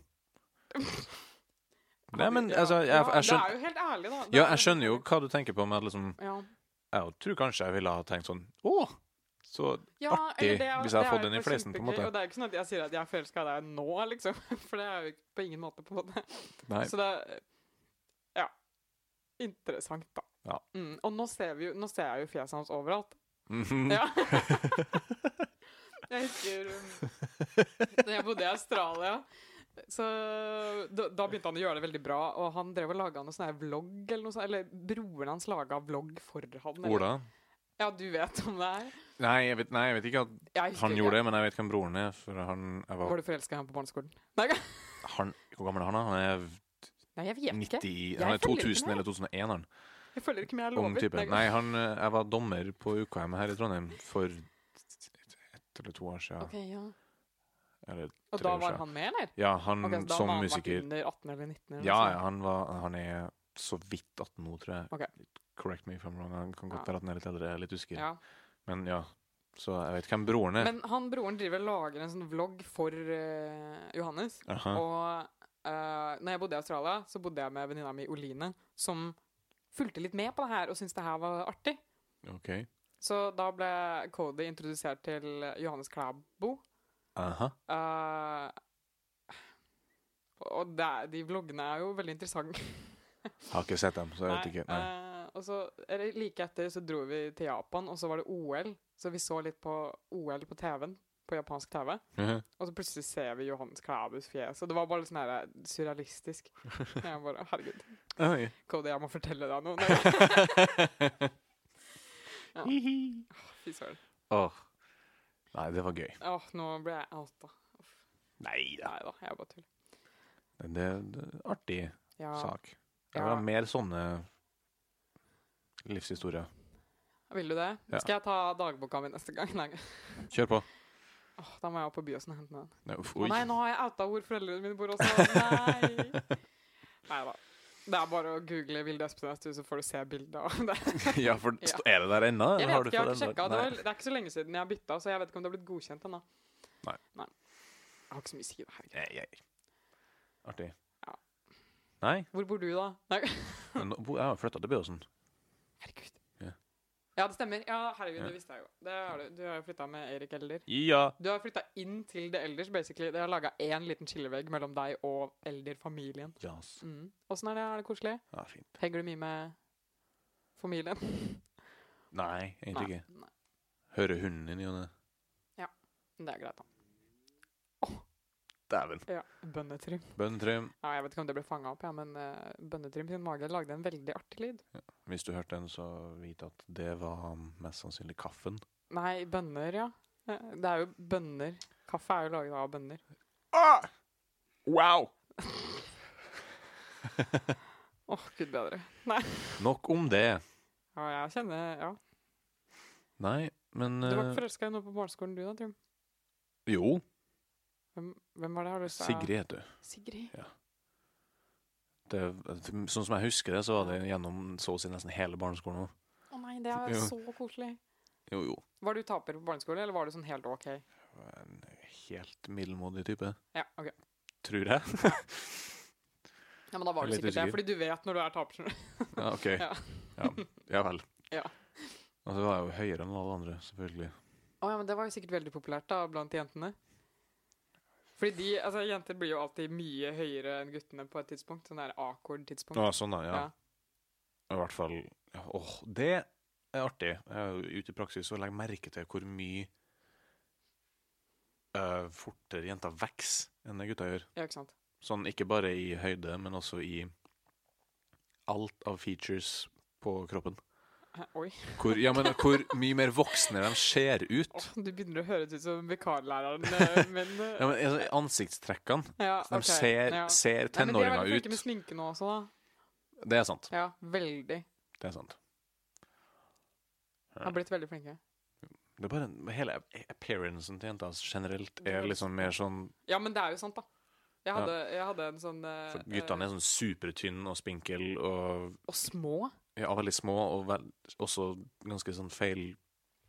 S1: <laughs>
S2: Nei, men
S1: Ja,
S2: altså, jeg,
S1: ja,
S2: jeg skjønnner
S1: Det er jo helt ærlig, da. Det
S2: Ja,
S1: er
S2: jeg skjønner jo hva du tenker på, men liksom
S1: Ja,
S2: Jeg tror kanskje jeg ville ha tenkt sånn Å! Så
S1: ja
S2: Artig,
S1: eller det er-
S2: hvis jeg
S1: det
S2: har
S1: er
S2: fått
S1: jo
S2: den i
S1: ikke
S2: fleisen, på en
S1: kjempegøy,
S2: måte.
S1: Og det er jo ikke sånn at jeg sier at jeg er forelska i deg nå, liksom. <laughs> For det er jo ikke på ingen måte, på en måte.
S2: Nei.
S1: Så det er Ja. Interessant, da.
S2: Ja.
S1: Mm, og nå ser, vi jo, nå ser jeg jo fjeset hans overalt.
S2: <laughs> Mhm. <laughs>
S1: Ja. jeg husker um, Da jeg bodde i Australia, så da, da begynte han å gjøre det veldig bra. Og han drev og laga noe sånn her vlogg, eller noe sånt. Eller broren hans laga vlogg for han. Eller,
S2: Ola?
S1: Ja, du vet om det er.
S2: Nei jeg, vet, nei, jeg vet ikke at
S1: Jeg husker
S2: han
S1: ikke.
S2: gjorde det, men jeg vet hvem broren er. For han, jeg var,
S1: Var du forelska i ham på barneskolen? Nei,
S2: han Hvor gammel er han, da? Han er
S1: nei jeg vet ikke.
S2: 90
S1: Jeg
S2: Han er
S1: følger ikke
S2: 2000
S1: med.
S2: eller 2001, han.
S1: Jeg følger ikke med, jeg
S2: Ung
S1: lover.
S2: type. Nei, han, eh, jeg var dommer på UKM her i Trondheim for ett eller to år siden.
S1: Ok, ja.
S2: Eller,
S1: Og
S2: Tre
S1: da
S2: år
S1: var
S2: siden.
S1: han med, eller?
S2: ja, han
S1: Ok, så da
S2: Mm, som
S1: må han vært liksom.
S2: musiker
S1: Under 18 eller 19 eller noe
S2: Ja,
S1: sånt.
S2: ja, han, var, han er så vidt 18 nå, tror jeg.
S1: Ok.
S2: Correct me if I'm wrong. Han kan godt
S1: Ja.
S2: være at han er litt eldre, jeg er litt usikker.
S1: Ja.
S2: Men ja, så jeg vet hvem broren er.
S1: Men han broren driver og lager en sånn vlogg for eh, Johannes.
S2: Aha.
S1: Og eh, når jeg bodde i Australia, så bodde jeg med venninna mi Oline, som fulgte litt med på det her og syntes det her var artig.
S2: OK.
S1: Så da ble Cody introdusert til Johannes Klæbo.
S2: Aha.
S1: Eh, og det, er- de vloggene er jo veldig interessante.
S2: Har ikke sett dem, så jeg vet ikke. Nei.
S1: eh, og så eller, Like etter så dro vi til Japan, og så var det OL. Så vi så litt på OL på TV-en, på japansk TV.
S2: Mhm.
S1: Og så plutselig ser vi Johannes Klæbus fjes, og det var bare litt sånn her surrealistisk.
S2: <laughs>
S1: Jeg bare, herregud,
S2: Oi.
S1: Cody, jeg må fortelle deg
S2: <laughs>
S1: noe. Nei,
S2: Hihi.
S1: Fy søren.
S2: <laughs> Åh. Nei, det var gøy.
S1: Åh, nå ble jeg outa.
S2: Nei da.
S1: Nei da, jeg bare tuller.
S2: Det er en artig
S1: Ja,
S2: sak. Jeg
S1: Ja.
S2: vil ha mer sånne livshistorier.
S1: vil du det?
S2: Ja.
S1: Skal jeg ta dagboka mi neste gang? Nei.
S2: Kjør på.
S1: Åh, da må jeg opp på Byåsen og hente den.
S2: Nei, uff,
S1: Å
S2: oi.
S1: nei, nå har jeg outa hvor foreldrene mine bor også.
S2: <laughs>
S1: Nei. Nei da. Det er bare å google Vilde Espnes, du, så får du se bildet av
S2: <laughs>
S1: det.
S2: ja, for
S1: Ja.
S2: st- er det der ennå?
S1: Jeg vet ikke, jeg
S2: eller
S1: har
S2: fått
S1: ikke
S2: endret-
S1: sjekka. Det,
S2: Nei.
S1: var- det er ikke så lenge siden jeg bytta, så jeg vet ikke om det har blitt godkjent ennå.
S2: Nei.
S1: Jeg har ikke så mye å si. da, herregud.
S2: Nei, nei. Artig.
S1: Ja.
S2: Nei,
S1: Hvor bor du, da? Nei. <laughs>
S2: men nå- bo- jeg har flytta til Byåsen.
S1: Herregud.
S2: Ja.
S1: Ja, det stemmer. Ja, herregud,
S2: Ja.
S1: det visste jeg jo. Det har du. du har jo flytta med Erik Elder.
S2: Ja.
S1: Du har flytta inn til The Elders, basically. Det har laga én liten skillevegg mellom deg og Elder-familien.
S2: Yes.
S1: Mm. Åssen er det? Er det koselig?
S2: Ja, fint.
S1: Henger du mye med familien? <laughs>
S2: Nei, egentlig
S1: Nei,
S2: ikke.
S1: nei.
S2: Hører hunden din i og det?
S1: Det er greit, da.
S2: Dæven.
S1: Ja, Bønnetrim.
S2: Bønntrim.
S1: Ja, jeg vet ikke om det ble fanga opp, ja, men eh, Bønnetrim sin mage lagde en veldig artig lyd.
S2: Hvis du hørte den, så vit at det var mest sannsynlig kaffen.
S1: Nei, bønner, ja. Eh, Det er jo bønner. Kaffe er jo laget av bønner.
S2: Ah! Wow!
S1: Åh, gud bedre.
S2: Nok om det.
S1: Ja, jeg kjenner Ja.
S2: Nei, men
S1: Du var
S2: eh,
S1: ikke forelska i noe på barneskolen du da, Trym?
S2: Jo.
S1: Hvem, hvem var det? Har du lyst til å-
S2: Sigrid heter hun.
S1: Sigrid.
S2: Det er- Sånn som jeg husker det, så var det gjennom så å si nesten hele barneskolen. også.
S1: Å nei, det er
S2: Jo.
S1: så koselig.
S2: Jo, jo.
S1: Var du taper på barneskolen, eller var du sånn helt OK?
S2: En helt middelmådig type.
S1: Ja, ok.
S2: Tror jeg.
S1: Ja, men da var du
S2: Jeg er
S1: sikkert
S2: litt
S1: det,
S2: usikker.
S1: fordi du vet når du er taper. skjønner du.
S2: <laughs> Ja, OK.
S1: Ja.
S2: Ja, ja vel.
S1: <laughs> Ja.
S2: Og så var jeg jo høyere enn alle andre, selvfølgelig.
S1: Å ja, men det var jo sikkert veldig populært da, blant jentene. Fordi de, altså Jenter blir jo alltid mye høyere enn guttene på et tidspunkt. Sånn der awkward tidspunkt.
S2: Å, sånn, da, ja.
S1: Ja.
S2: I hvert fall ja, Åh, det er artig. Jeg er jo ute i praksis og legger merke til hvor mye eh, fortere jenter vokser enn det gutta gjør.
S1: Ja, ikke sant?
S2: Sånn ikke bare i høyde, men også i alt av features på kroppen.
S1: Hæ, Oi.
S2: Hvor, ja, men hvor mye mer voksne de ser ut.
S1: Åh, du begynner å høres ut som vikarlæreren,
S2: <laughs>
S1: eh, men eh,
S2: Ja, men altså, Ansiktstrekkene.
S1: ja,
S2: De
S1: ok,
S2: ser,
S1: ja. Nei,
S2: ser
S1: men de er
S2: tenåringer
S1: veldig
S2: ut.
S1: flinke med sminke nå også, da.
S2: Det er sant.
S1: Ja, veldig.
S2: Det er sant.
S1: Har blitt veldig flinke.
S2: Det er bare en, Hele appearancen til jenter generelt
S1: er
S2: er
S1: veldig
S2: liksom mer sånn
S1: Ja, men det er jo sant, da. Jeg
S2: Ja.
S1: hadde, jeg hadde en sånn eh,
S2: for Guttene er sånn supertynne og spinkel og
S1: eh, Og små.
S2: ja, veldig små og vel, også ganske sånn feil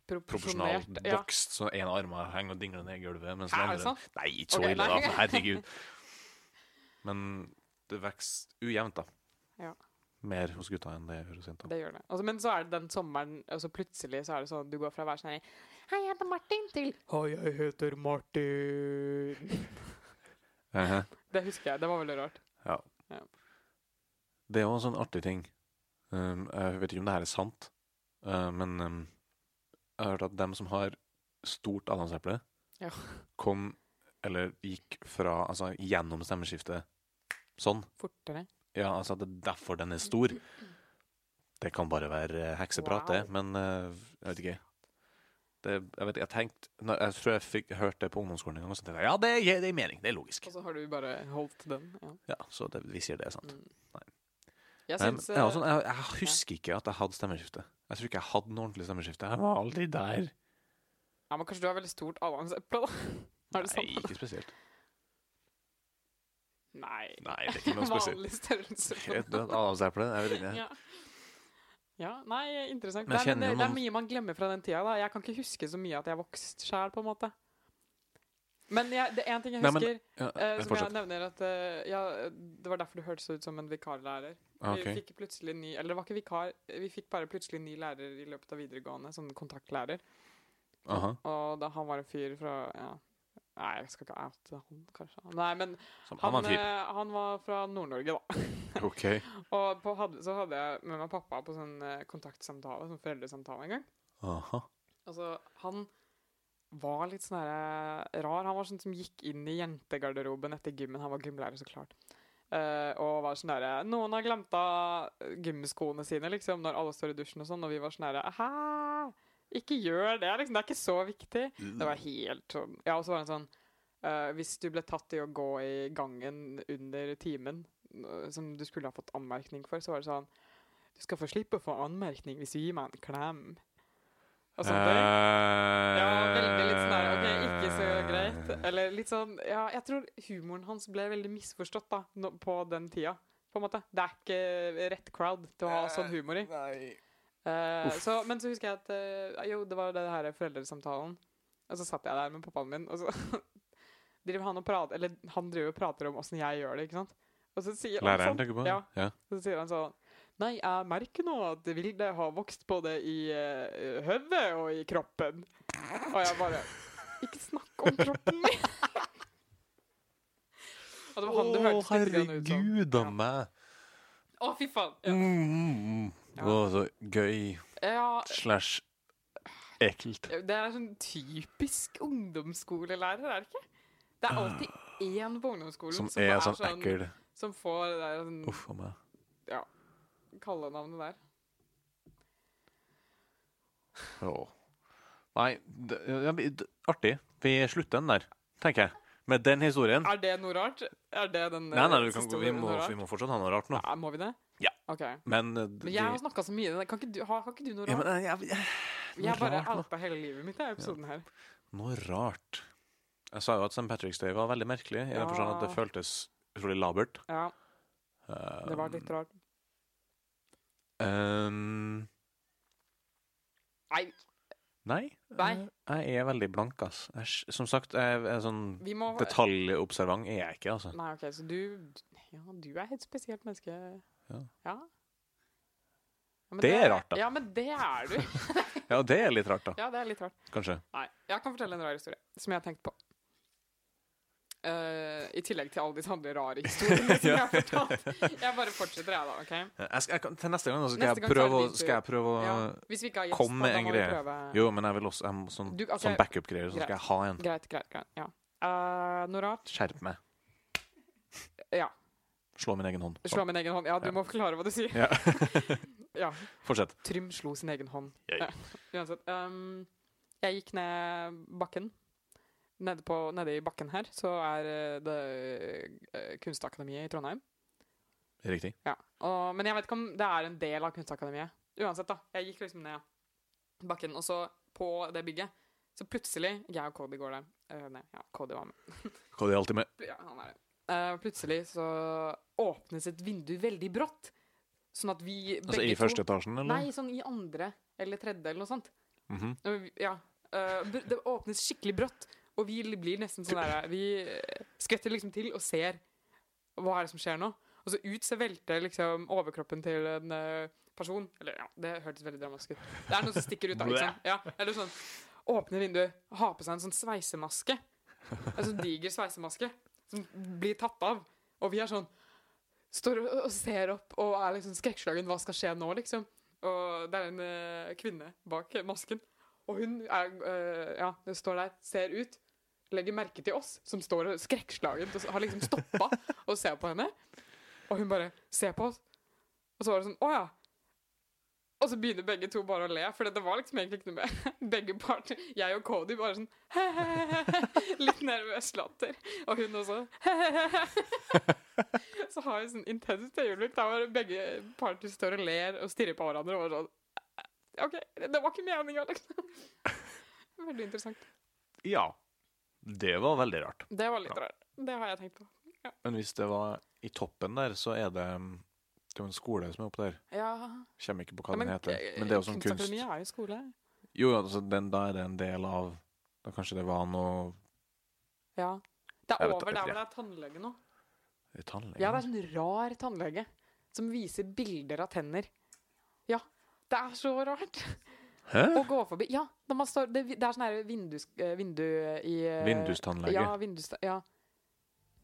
S2: proporsjonalt
S1: Proporsjonalt. Ja.
S2: vokst. Så en arm henger og dingler ned i gulvet, mens
S1: Hæ,
S2: den
S1: er det
S2: andre
S1: sant?
S2: Nei, ikke så
S1: Ok,
S2: ille, da.
S1: nei.
S2: men <laughs> Herregud. Men det vokser ujevnt, da.
S1: Ja.
S2: Mer hos gutta enn det gjør hos jenta.
S1: Det gjør det. Altså, men så er det den sommeren, og så plutselig så er det sånn du går fra å være sånn her, Hei, jeg heter Martin, til Hei, jeg heter Martin.
S2: Ehe.
S1: Det husker jeg. Det var veldig rart.
S2: Ja.
S1: Ja.
S2: Det er jo en sånn artig ting. Um, jeg vet ikke om det her er sant, uh, men um, jeg har hørt at dem som har stort adamseple,
S1: Ja.
S2: kom eller gikk fra Altså gjennom stemmeskiftet sånn.
S1: Fortere.
S2: Ja, altså at det er derfor den er stor. Det kan bare være eh, hekseprat, det, men eh, jeg vet ikke. Det, jeg vet ikke, jeg tenkte, når- jeg tror jeg fikk hørt det på ungdomsskolen en gang, og så tenkte jeg ja, det gir det gir mening, det er logisk.
S1: Og så har du bare holdt den. Ja.
S2: Ja, Så det, vi sier det er sant.
S1: Mm.
S2: Nei.
S1: Jeg eh,
S2: Nei, men
S1: syns
S2: jeg, er også sånn, jeg, jeg husker ikke at jeg hadde stemmeskifte. Jeg tror ikke jeg hadde noe ordentlig stemmeskifte. Jeg var aldri der.
S1: Ja, men kanskje du har veldig stort adamseple, da? <laughs> Er det sånn?
S2: Nei,
S1: sant?
S2: ikke spesielt.
S1: Nei.
S2: Nei, det er ikke
S1: <laughs>
S2: noe spesielt.
S1: Vanlig størrelse. på-
S2: Et dødt adamseple, jeg vet ikke.
S1: liksom? Ja. ja. Nei, interessant.
S2: Men
S1: Nei,
S2: jeg
S1: men det,
S2: kjenner
S1: det er
S2: noen-
S1: mye man glemmer fra den tida. da. Jeg kan ikke huske så mye at jeg vokste sjæl, på en måte. Men jeg, det er én ting jeg
S2: Nei, men-
S1: husker,
S2: Ja,
S1: eh, som
S2: men
S1: jeg
S2: fortsett.
S1: nevner at eh, ja, Det var derfor du hørtes ut som en vikarlærer.
S2: Ah,
S1: Vi
S2: ok.
S1: fikk plutselig ny Eller det var ikke vikar, vi fikk bare plutselig ny lærer i løpet av videregående, sånn kontaktlærer.
S2: Aha.
S1: Og da han var en fyr fra ja. Nei, jeg skal ikke oute han, kanskje. Nei, men
S2: Som
S1: han,
S2: annen fyr.
S1: eh, han var fra Nord-Norge, da. <laughs>
S2: OK.
S1: Og på, hadde, så hadde jeg med meg pappa på sånn eh, kontaktsamtale, sånn foreldresamtale en gang.
S2: Aha.
S1: Altså, han var litt sånn her, eh, rar. Han var sånn som gikk inn i jentegarderoben etter gymmen. Han var gymlærer, så klart. Eh, og var sånn derre Noen har glemt av eh, gymskoene sine, liksom, når alle står i dusjen og sånn. Og vi var sånn herre Hæ? Ikke gjør det, liksom. Det er ikke så viktig. Det var helt sånn Ja, og så var han sånn eh, Hvis du ble tatt i å gå i gangen under timen, eh, som du skulle ha fått anmerkning for, så var det sånn Du skal få slippe å få anmerkning hvis du gir meg en klem. Og sånne ting.
S2: Eh,
S1: Ja, veldig litt sånn der, ok, ikke så greit. Eller litt sånn, ja, jeg tror humoren hans ble veldig misforstått da, nå- på den tida, på en måte. Det er ikke rett crowd til
S2: Eh,
S1: å ha sånn humor i.
S2: Nei.
S1: Eh, så, men så husker jeg at, eh, jo, det var det her foreldresamtalen, og så satt jeg der med pappaen min, og så <laughs> driver han og prater, eller han driver og prater om hvordan jeg gjør det, ikke sant? Og så sier han
S2: Læreren
S1: sånn,
S2: tenker på det?
S1: Ja.
S2: Ja.
S1: så sier han sånn Nei, jeg merker nå at Vilde har vokst både i uh, hodet og i kroppen. Og jeg bare Ikke snakk om kroppen min! <laughs> og det var han det hørtes litt grann ut som.
S2: herregud
S1: Ja.
S2: av meg!
S1: Å, fy faen. Ja.
S2: Mm, mm, mm.
S1: Ja.
S2: Å, så gøy
S1: Ja,
S2: slash ekkelt.
S1: det er sånn typisk ungdomsskolelærer, er det ikke? Det er alltid én på ungdomsskolen
S2: Som er sånn ekkel
S1: Som får det der den
S2: Uff a meg.
S1: kallenavnet der.
S2: Åh. Nei, det, ja, vi- d- artig. Vi slutter den der, tenker jeg. Med den historien.
S1: Er det noe rart? Er det den
S2: Nei, nei,
S1: eh,
S2: du kan, gå-
S1: siste
S2: vi,
S1: ordet noe
S2: må,
S1: rart?
S2: vi må fortsatt ha noe rart nå.
S1: Ja, må vi det?
S2: Ja.
S1: Ok.
S2: Men, eh, d-
S1: Men jeg har
S2: de-
S1: snakka så mye. Kan ikke du, har, kan ikke du noe
S2: ja,
S1: rart?
S2: men eh, jeg, jeg,
S1: jeg bare
S2: rart nå.
S1: outa hele livet mitt i denne episoden her.
S2: Noe rart. Jeg sa jo at St. Patrick's Day var veldig merkelig, i den forstand at det
S1: Ja.
S2: føltes utrolig labert.
S1: Ja,
S2: Eh,
S1: det var litt rart.
S2: ehm,
S1: Nei,
S2: nei,
S1: Nei.
S2: eh, jeg er veldig blank, ass. Jeg, s- som sagt, jeg er sånn
S1: vi må
S2: detaljobservant er jeg ikke, altså.
S1: Nei, OK, så du Ja, du er et spesielt menneske.
S2: Ja.
S1: Ja. Ja, men
S2: Det er rart, da.
S1: Ja, men det er du.
S2: Ja, det er litt rart, da.
S1: Ja, det er litt rart.
S2: Kanskje.
S1: Nei, jeg kan fortelle en rar historie som jeg har tenkt på. Eh, I tillegg til alle de andre rare historiene
S2: <laughs>
S1: som jeg har fortalt. Jeg bare fortsetter, jeg, da. ok?
S2: Jeg skal, jeg, kan- til neste gang da, så
S1: Neste
S2: skal, jeg
S1: gang så er det
S2: prøve,
S1: din
S2: å-
S1: tur.
S2: skal jeg prøve å
S1: Ja. Hvis vi ikke har gjest,
S2: Kom med
S1: da, da
S2: en
S1: må vi
S2: greie.
S1: prøve
S2: Jo, men jeg vil også jeg, må sånn,
S1: Du, ok,
S2: sånn backup-greier, så skal
S1: greit.
S2: jeg ha en.
S1: Greit, greit, greit. Ja. Eh, noe rart?
S2: Skjerp meg.
S1: Ja.
S2: Slå min egen hånd. Sånn.
S1: Slå min egen hånd. Ja, du
S2: Ja.
S1: må forklare hva du sier.
S2: Ja.
S1: Ja.
S2: Fortsett.
S1: Trym slo sin egen hånd.
S2: Jeg-
S1: Ja. Uansett. ehm, jeg gikk ned bakken. Nede, på, nede i bakken her så er eh, det eh, Kunstakademiet i Trondheim.
S2: Riktig.
S1: Ja. Og, men jeg vet ikke om det er en del av Kunstakademiet. Uansett, da. Jeg gikk liksom ned bakken, og så på det bygget. Så plutselig Jeg og Cody går der. Eh, nei, ja, Cody var med.
S2: Hva er det alltid med?
S1: Ja, han er det. Eh, plutselig så åpnes et vindu veldig brått. Sånn at vi begge
S2: Altså i
S1: to
S2: første etasjen, eller?
S1: Nei, sånn i andre eller tredje eller noe sånt.
S2: Mhm.
S1: Og vi- Ja. eh, br- det åpnes skikkelig brått, og vi l- blir nesten sånn der Vi eh, skvetter liksom til og ser hva er det som skjer nå. Og så ut så velter liksom overkroppen til en eh, person. Eller ja, det hørtes veldig dramatisk ut. Det er noe som stikker ut da, ikke sant? Ja, eller sånn Åpner vinduet, har på seg en sånn sveisemaske. En sånn diger sveisemaske som blir tatt av. Og vi er sånn Står og og ser opp og er liksom skrekkslagen. Hva skal skje nå, liksom? Og det er en eh, kvinne bak masken. Og hun er, eh, ja, hun står der, ser ut, legger merke til oss, som står og skrekkslagent og s- har liksom stoppa <laughs> og ser på henne. Og hun bare ser på oss. Og så var det sånn Å ja. Og så begynner begge to bare å le, for det var liksom egentlig ikke noe mer. <laughs> Begge parter, jeg og Cody, bare sånn <laughs> Litt nervøs latter. Og hun også <laughs> Så har vi sånn intenst øyeblikk der hvor begge parter står og ler og stirrer på hverandre og er sånn OK, det var ikke meninga, liksom. Veldig interessant.
S2: Ja. Det var veldig rart.
S1: Det var litt
S2: Ja.
S1: rart. Det har jeg tenkt på.
S2: Men hvis det var i toppen der, så er det mm, Det er jo en skole som er oppe der.
S1: Ja,
S2: Kommer ikke på hva
S1: men, eh,
S2: den heter. Men det er jo sånn kunst.
S1: Kunstakademiet er jo skole.
S2: Jo, altså, den, da er det en del av Da kanskje det var noe
S1: Ja. Det
S2: Jeg
S1: er
S2: vet-
S1: over der
S2: jeg vet
S1: hvor det er tannlege nå.
S2: tannlege.
S1: Ja, det er sånn rar tannlege som viser bilder av tenner. Ja. Det er så rart
S2: Hæ?
S1: å gå forbi. Ja, når man står, det, det er sånn her vindus, eh, vindu i eh,
S2: Vindustannlege.
S1: Ja, vindus, ja.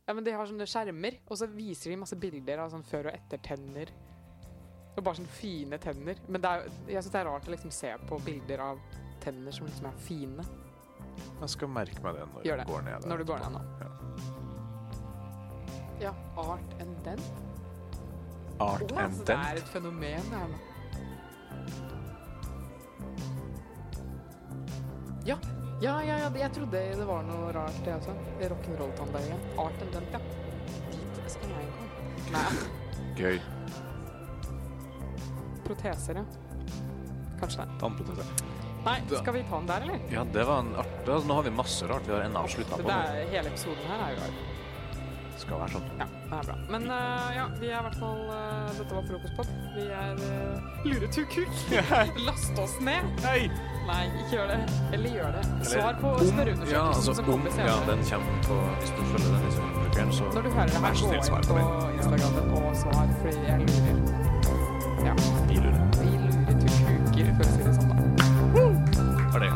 S1: ja, men de har sånne skjermer, og så viser de masse bilder av sånn før- og ettertenner. Og bare sånne fine tenner. Men det er, jo- jeg syns det er rart å liksom se på bilder av tenner som liksom er fine,
S2: Jeg skal merke meg det når
S1: Gjør
S2: jeg
S1: det.
S2: går ned. der
S1: når du går
S2: etterpå.
S1: ned nå. Ja, art enn den? Å,
S2: Art and
S1: altså, det er
S2: Dent.
S1: et fenomen, det her nå. Ja. Ja, ja, ja, jeg trodde det var noe rart, det også. Rock'n'roll-tannlege. Art enn den, ja. Dit skal jeg gå. Nei,
S2: Gøy.
S1: proteser, ja. Kanskje det.
S2: Tannproteser.
S1: Nei,
S2: Da-
S1: skal vi ta den der, eller?
S2: Ja, det var en art... da- Nå har vi masse rart vi har ennå avslutta på.
S1: Det er, hele episoden her er jo rar.
S2: nå. Skal være sånn.
S1: Ja, det er bra. Men eh, ja, vi er i hvert fall eh, Dette var frokostpod. Vi er uh, luretukuk.
S2: <laughs>
S1: Last oss ned.
S2: Hei!
S1: Nei, ikke gjør det. Eller gjør det. Svar på spørreundersøkelsen
S2: ja, altså,
S1: som
S2: om,
S1: kommer
S2: ja,
S1: senere.
S2: den kommer på Hvis du følger den Instagram-brukeren, så
S1: Når du hører det
S2: Vær
S1: her,
S2: så
S1: gå
S2: snill, svar
S1: inn
S2: på
S1: på
S2: det.
S1: Instagramen og svar, fordi jeg lurer. Ja,
S2: Vi lurer.
S1: vi lurer til kuker, for å si det sånn. da.
S2: Har det.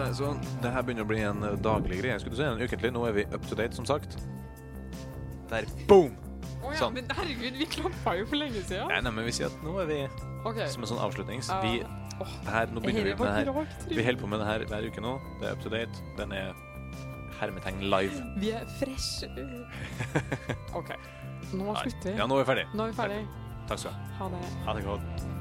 S2: Nei, så det her begynner å bli en eh, daglig greie. Skulle du si en ukentlig? Nå er vi up to date, som sagt. Der, boom!
S1: Å ja,
S2: Sånn.
S1: men herregud, vi klappa jo for lenge siden.
S2: Nei, nei, men vi sier at nå er vi
S1: Ok.
S2: som en sånn avslutnings.
S1: Ja.
S2: Vi,
S1: Åh,
S2: det her, nå begynner vi
S1: Hele
S2: med det her.
S1: vårt
S2: Vi
S1: dragtrinn.
S2: holder på med det her hver uke nå. Det er up to date. Den er hermetegn live.
S1: Vi er
S2: <laughs>
S1: fresh. OK. Nå
S2: Nei.
S1: slutter vi.
S2: Ja, nå er vi ferdig.
S1: Nå er vi ferdig.
S2: Takk skal du ha.
S1: Ha det.
S2: Ha det godt.